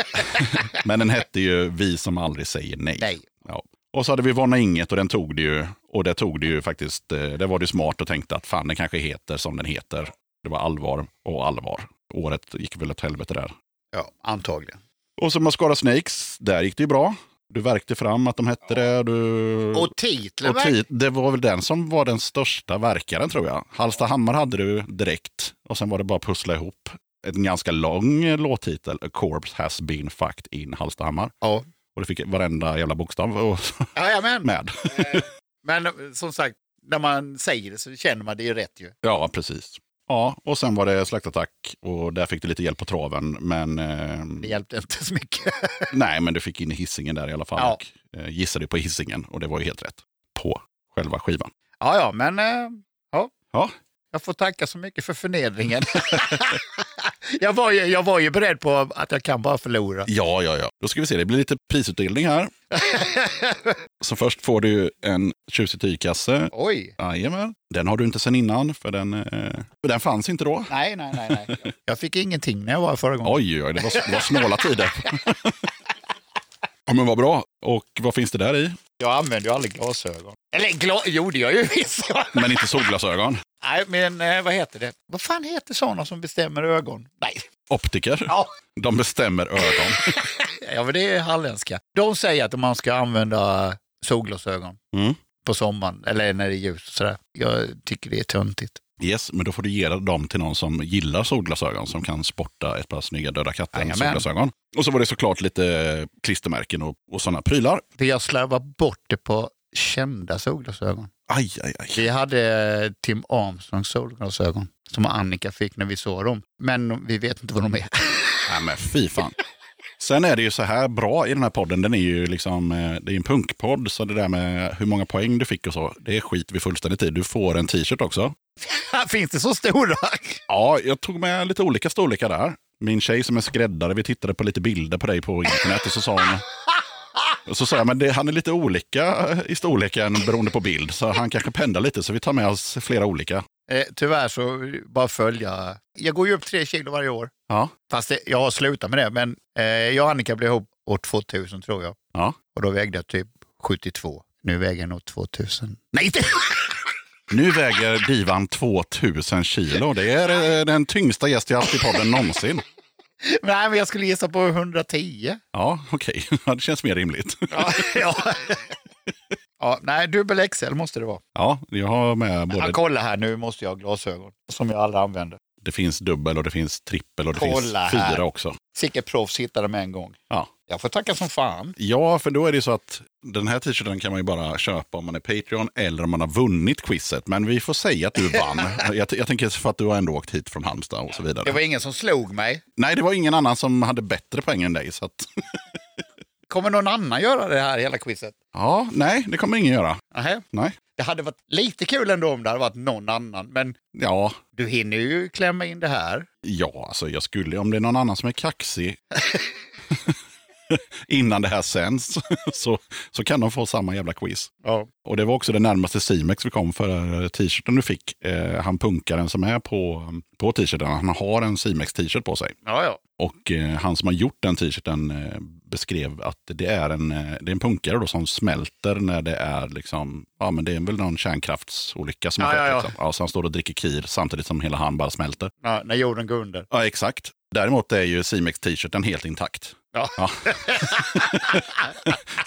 S2: Men den hette ju Vi som aldrig säger nej.
S1: Nej.
S2: Ja. Och så hade vi Vana inget och den tog det ju. Och det tog det ju faktiskt. eh, Där var du smart och tänkte att fan, den kanske heter som den heter. Det var allvar och allvar. Året gick väl åt helvete där.
S1: Ja, antagligen.
S2: Och så Mascara Snakes, där gick det ju bra. Du verkte fram att de hette det. Du...
S1: Mm. Och titeln
S2: Och ti- det var väl den som var den största verkaren tror jag. Hallstahammar hade du direkt och sen var det bara att pussla ihop en ganska lång eh, låttitel. A corpse has been fucked in Hallstahammar.
S1: Ja.
S2: Och du fick varenda jävla bokstav och-
S1: Jajamän.
S2: med.
S1: Men eh, som sagt, när man säger det så känner man det ju rätt ju.
S2: Ja, precis. Ja, och sen var det slaktattack och där fick du lite hjälp på traven. Men
S1: Det
S2: eh,
S1: hjälpte inte så mycket.
S2: nej, men du fick in hissingen där i alla fall.
S1: Ja.
S2: Och, eh, gissade på hissingen och det var ju helt rätt på själva skivan.
S1: Ja, ja, men eh, ja.
S2: Ja.
S1: Jag får tacka så mycket för förnedringen. jag, var ju, jag var ju beredd på att jag kan bara förlora.
S2: Ja, ja, ja. Då ska vi se, det blir lite prisutdelning här. Så först får du en tjusig tygkasse.
S1: Oj!
S2: Jajamän. Den har du inte sen innan, för den, eh, för den fanns inte då.
S1: Nej, nej, nej. nej. Jag fick ingenting när jag var här förra gången.
S2: Oj, oj, det var, det var snåla tider. ja, men vad bra. Och vad finns det där i?
S1: Jag använde ju aldrig glasögon. Eller gla- gjorde jag ju visst.
S2: Men inte solglasögon.
S1: nej, men eh, vad heter det? Vad fan heter sådana som bestämmer ögon? Nej,
S2: Optiker.
S1: Ja.
S2: De bestämmer ögon.
S1: ja, men det är halländska. De säger att man ska använda solglasögon
S2: Mm.
S1: på sommaren eller när det är ljust och sådär. Jag tycker det är töntigt.
S2: Yes, men då får du ge dem till någon som gillar solglasögon som kan sporta ett par snygga Döda katten
S1: Jajamän.
S2: solglasögon. Och så var det såklart lite klistermärken och, och sådana prylar.
S1: För jag slarvade bort det på kända solglasögon.
S2: Aj, aj, aj.
S1: Vi hade eh, Tim Armstrongs solglasögon som Annika fick när vi såg dem. Men vi vet inte vad de är.
S2: Nej men fy fan. Sen är det ju så här bra i den här podden, den är ju liksom, eh, det är en punkpodd, så det där med hur många poäng du fick och så, det skiter vi fullständigt i. Du får en t-shirt också.
S1: Finns det så stora?
S2: Ja, jag tog med lite olika storlekar där. Min tjej som är skräddare, vi tittade på lite bilder på dig på internet och så sa hon... Och så sa jag, men det, han är lite olika i storleken beroende på bild, så han kanske pendlar lite, så vi tar med oss flera olika.
S1: Eh, tyvärr så bara följa. Jag går ju upp tre kilo varje år.
S2: Ja.
S1: Fast det, jag har slutat med det. Men eh, jag och Annika blev ihop år 2000 tror jag.
S2: Ja.
S1: Och då vägde jag typ 72. Nu väger jag nog 2000. Nej, inte!
S2: Nu väger divan 2000 kilo, det är eh, den tyngsta gäst jag haft i podden någonsin.
S1: Nej, men jag skulle gissa på 110.
S2: Ja, okej. Ja, Det känns mer rimligt.
S1: Ja, ja. ja, nej, dubbel XL måste det vara.
S2: Ja, jag har med
S1: Ja,
S2: både...
S1: kolla här, nu måste jag ha glasögon som jag aldrig använder.
S2: Det finns dubbel och det finns trippel och det
S1: Kolla
S2: finns fyra
S1: här.
S2: också.
S1: Sicket proffs hittade med en gång.
S2: Ja.
S1: Jag får tacka som fan.
S2: Ja, för då är det ju så att den här t-shirten kan man ju bara köpa om man är Patreon eller om man har vunnit quizet. Men vi får säga att du vann. jag, t- jag tänker för att du har ändå åkt hit från Halmstad och så vidare.
S1: Det var ingen som slog mig.
S2: Nej, det var ingen annan som hade bättre poäng än dig. Så att...
S1: Kommer någon annan göra det här hela quizet?
S2: Ja, nej, det kommer ingen göra.
S1: Nähä.
S2: Nej.
S1: Det hade varit lite kul ändå om det hade varit någon annan, men
S2: Ja,
S1: du hinner ju klämma in det här.
S2: ja, alltså jag skulle, om det är någon annan som är kaxig innan det här sänds så, så kan de få samma jävla quiz.
S1: Ja.
S2: Och det var också det närmaste Simex vi kom för eh, t-shirten du fick. Eh, han punkaren som är på, på t-shirten, han har en Simex t-shirt på sig.
S1: Ja, ja.
S2: Och eh, han som har gjort den t-shirten eh, beskrev att det är en, eh, det är en punkare då som smälter när det är liksom, ja men det är väl någon kärnkraftsolycka som har
S1: Ja, ja,
S2: skett.
S1: ja.
S2: Liksom. Ja, så han står och dricker kir samtidigt som hela han bara smälter.
S1: När, när jorden går under.
S2: Ja, exakt. Däremot är ju Simex t-shirten helt intakt.
S1: Ja.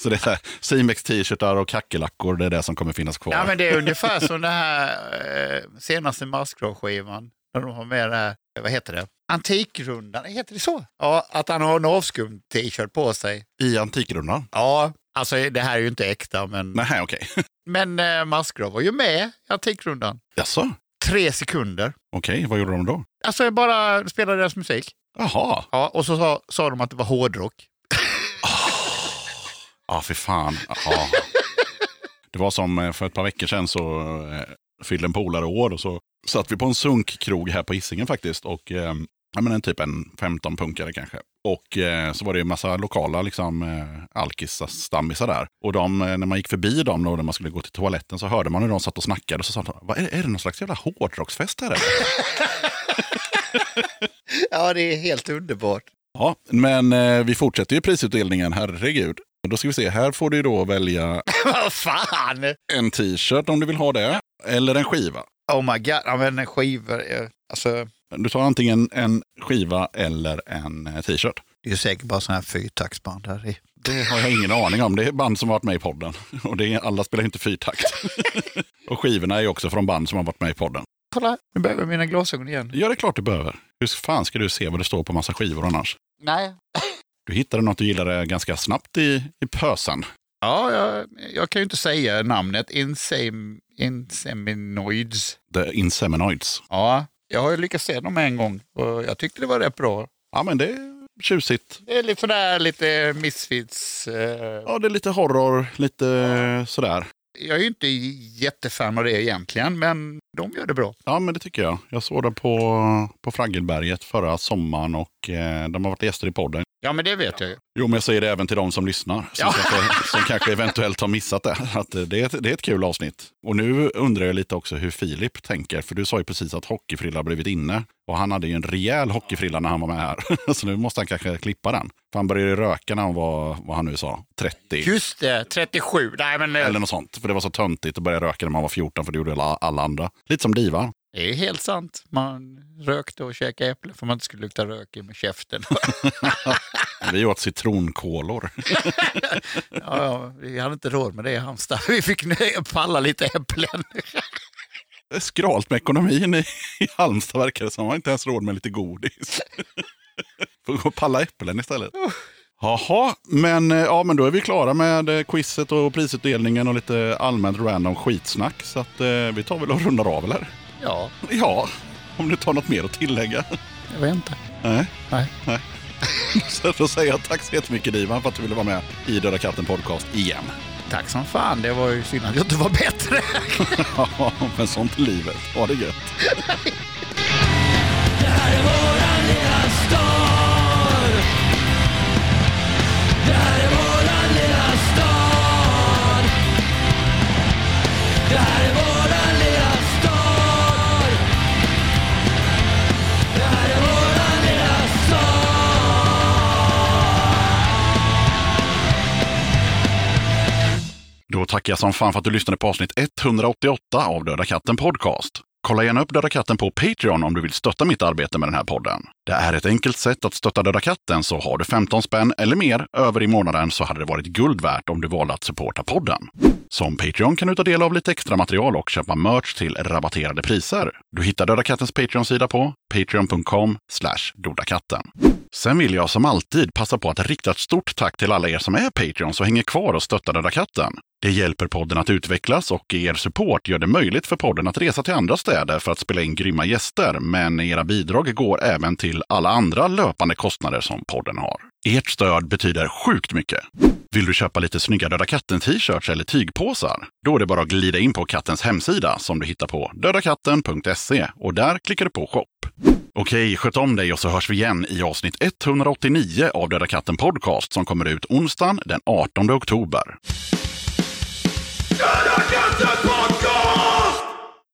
S2: Så det är så här, Simex t-shirtar och kackerlackor, det är det som kommer finnas kvar.
S1: Ja, men det är ungefär som den här eh, senaste Maskrosskivan. När de har med det här, eh, vad heter det? Antikrundan, heter det så? Ja, att han har en avskum t-shirt på sig.
S2: I Antikrundan?
S1: Ja, alltså det här är ju inte äkta, men,
S2: Nej, okej.
S1: men eh, Maskrov var ju med i Antikrundan.
S2: Jaså?
S1: Tre sekunder.
S2: Okej, vad gjorde de då?
S1: Alltså jag bara spelade deras musik.
S2: Jaha.
S1: Ja, och så sa, sa de att det var hårdrock.
S2: Ja, för fan. Jaha. Det var som eh, för ett par veckor sedan så eh, fyllde en polare år och så satt vi på en sunkkrog här på Hisingen faktiskt. Och eh, ja, men en typ en 15 punkare kanske. Och eh, så var det ju en massa lokala liksom, eh, alkis-stammisar där. Och de, eh, när man gick förbi dem då, när man skulle gå till toaletten så hörde man hur de satt och snackade. Och så sa de, "Vad är, är det någon slags jävla hårdrocksfest här? eller?"
S1: Ja, det är helt underbart.
S2: Ja, men eh, vi fortsätter ju prisutdelningen, herregud. Och Då ska vi se, här får du ju då välja
S1: Vad fan!
S2: en t-shirt om du vill ha det, eller en skiva.
S1: Oh my god, ja, men skivor. eh, Alltså,
S2: Du tar antingen en skiva eller en eh, t-shirt.
S1: det är ju säkert bara sådana här fyrtaktsband här i.
S2: Det har jag ingen aning om. Det är band som har varit med i podden. Och det är, alla spelar ju inte fyrtakt. Och skivorna är ju också från band som har varit med i podden.
S1: Kolla, nu behöver jag mina glasögon igen.
S2: Ja, det är klart du behöver. Hur fan ska du se vad det står på massa skivor annars?
S1: Nej.
S2: Du hittade något du gillade ganska snabbt i, i pösen.
S1: Ja, jag, jag kan ju inte säga namnet. Insem, inseminoids.
S2: The Inseminoids.
S1: Ja, jag har ju lyckats se dem en gång och jag tyckte det var rätt bra.
S2: Ja, men det är tjusigt.
S1: Det är lite sådär lite missfits. Eh,
S2: Ja, det är lite horror, lite eh, sådär.
S1: jag är ju inte jättefan av det egentligen, men de gör det bra.
S2: Ja, men det tycker jag. Jag såg det på, på Fraggelberget förra sommaren och eh, de har varit gäster i podden.
S1: Ja, men det vet jag ju.
S2: Jo, men jag säger det även till de som lyssnar, som, kanske, som kanske eventuellt har missat det. Att eh, det, är ett, det är ett kul avsnitt. Och nu undrar jag lite också hur Filip tänker, för du sa ju precis att hockeyfrilla har blivit inne. Och han hade ju en rejäl hockeyfrilla när han var med här, så nu måste han kanske klippa den. För han började ju röka när han var, vad han nu sa, 30.
S1: Just det, 37. Nej, men eh,
S2: Eller något sånt, för det var så töntigt att börja röka när man var 14, för det gjorde alla, alla andra. Lite som Diva.
S1: det är helt sant. Man rökte och käkade äpple för man inte skulle lukta rök i med käften.
S2: Vi åt citronkolor.
S1: Ja, ja, vi hade inte råd med det i Halmstad. Vi fick nö- palla lite äpplen.
S2: Det är skralt med ekonomin i, i Halmstad verkar det som. Man har inte ens råd med lite godis. Får gå och palla äpplen istället. Jaha, men, eh, ja, men då är vi klara med eh, quizet och prisutdelningen och lite allmänt random skitsnack. Så att, eh, vi tar väl och rundar av eller?
S1: Ja,
S2: Ja, om du tar något mer att tillägga.
S1: jag vet inte.
S2: Nej.
S1: Nej.
S2: Nej. Så då säger jag tack så jättemycket Divan för att du ville vara med i Döda katten podcast igen.
S1: Tack som fan, det var ju synd att jag inte var bättre.
S2: Ja, men sånt är livet. Ha det gött.
S7: Det här är våran lilla stad Det här är våran lilla stad Det här är våran lilla stad Det här är våran lilla stad
S2: Då tackar jag som fan för att du lyssnade på avsnitt 188 av Döda katten podcast. Kolla gärna upp Döda katten på Patreon om du vill stötta mitt arbete med den här podden. Det är ett enkelt sätt att stötta Döda katten, så har du 15 spänn eller mer över i månaden så hade det varit guld värt om du valde att supporta podden. Som Patreon kan du ta del av lite extra material och köpa merch till rabatterade priser. Du hittar Döda kattens Patreon-sida på patreon.com dodakatten. Sen vill jag som alltid passa på att rikta ett stort tack till alla er som är Patreons och hänger kvar och stöttar Döda katten. Det hjälper podden att utvecklas och er support gör det möjligt för podden att resa till andra städer för att spela in grymma gäster. Men era bidrag går även till alla andra löpande kostnader som podden har. Ert stöd betyder sjukt mycket. Vill du köpa lite snygga Döda katten-t-shirts eller tygpåsar? Då är det bara att glida in på kattens hemsida som du hittar på dödakatten.se och där klickar du på shop. Okej, sköt om dig och så hörs vi igen i avsnitt 189 av Döda katten podcast som kommer ut onsdagen den 18 oktober.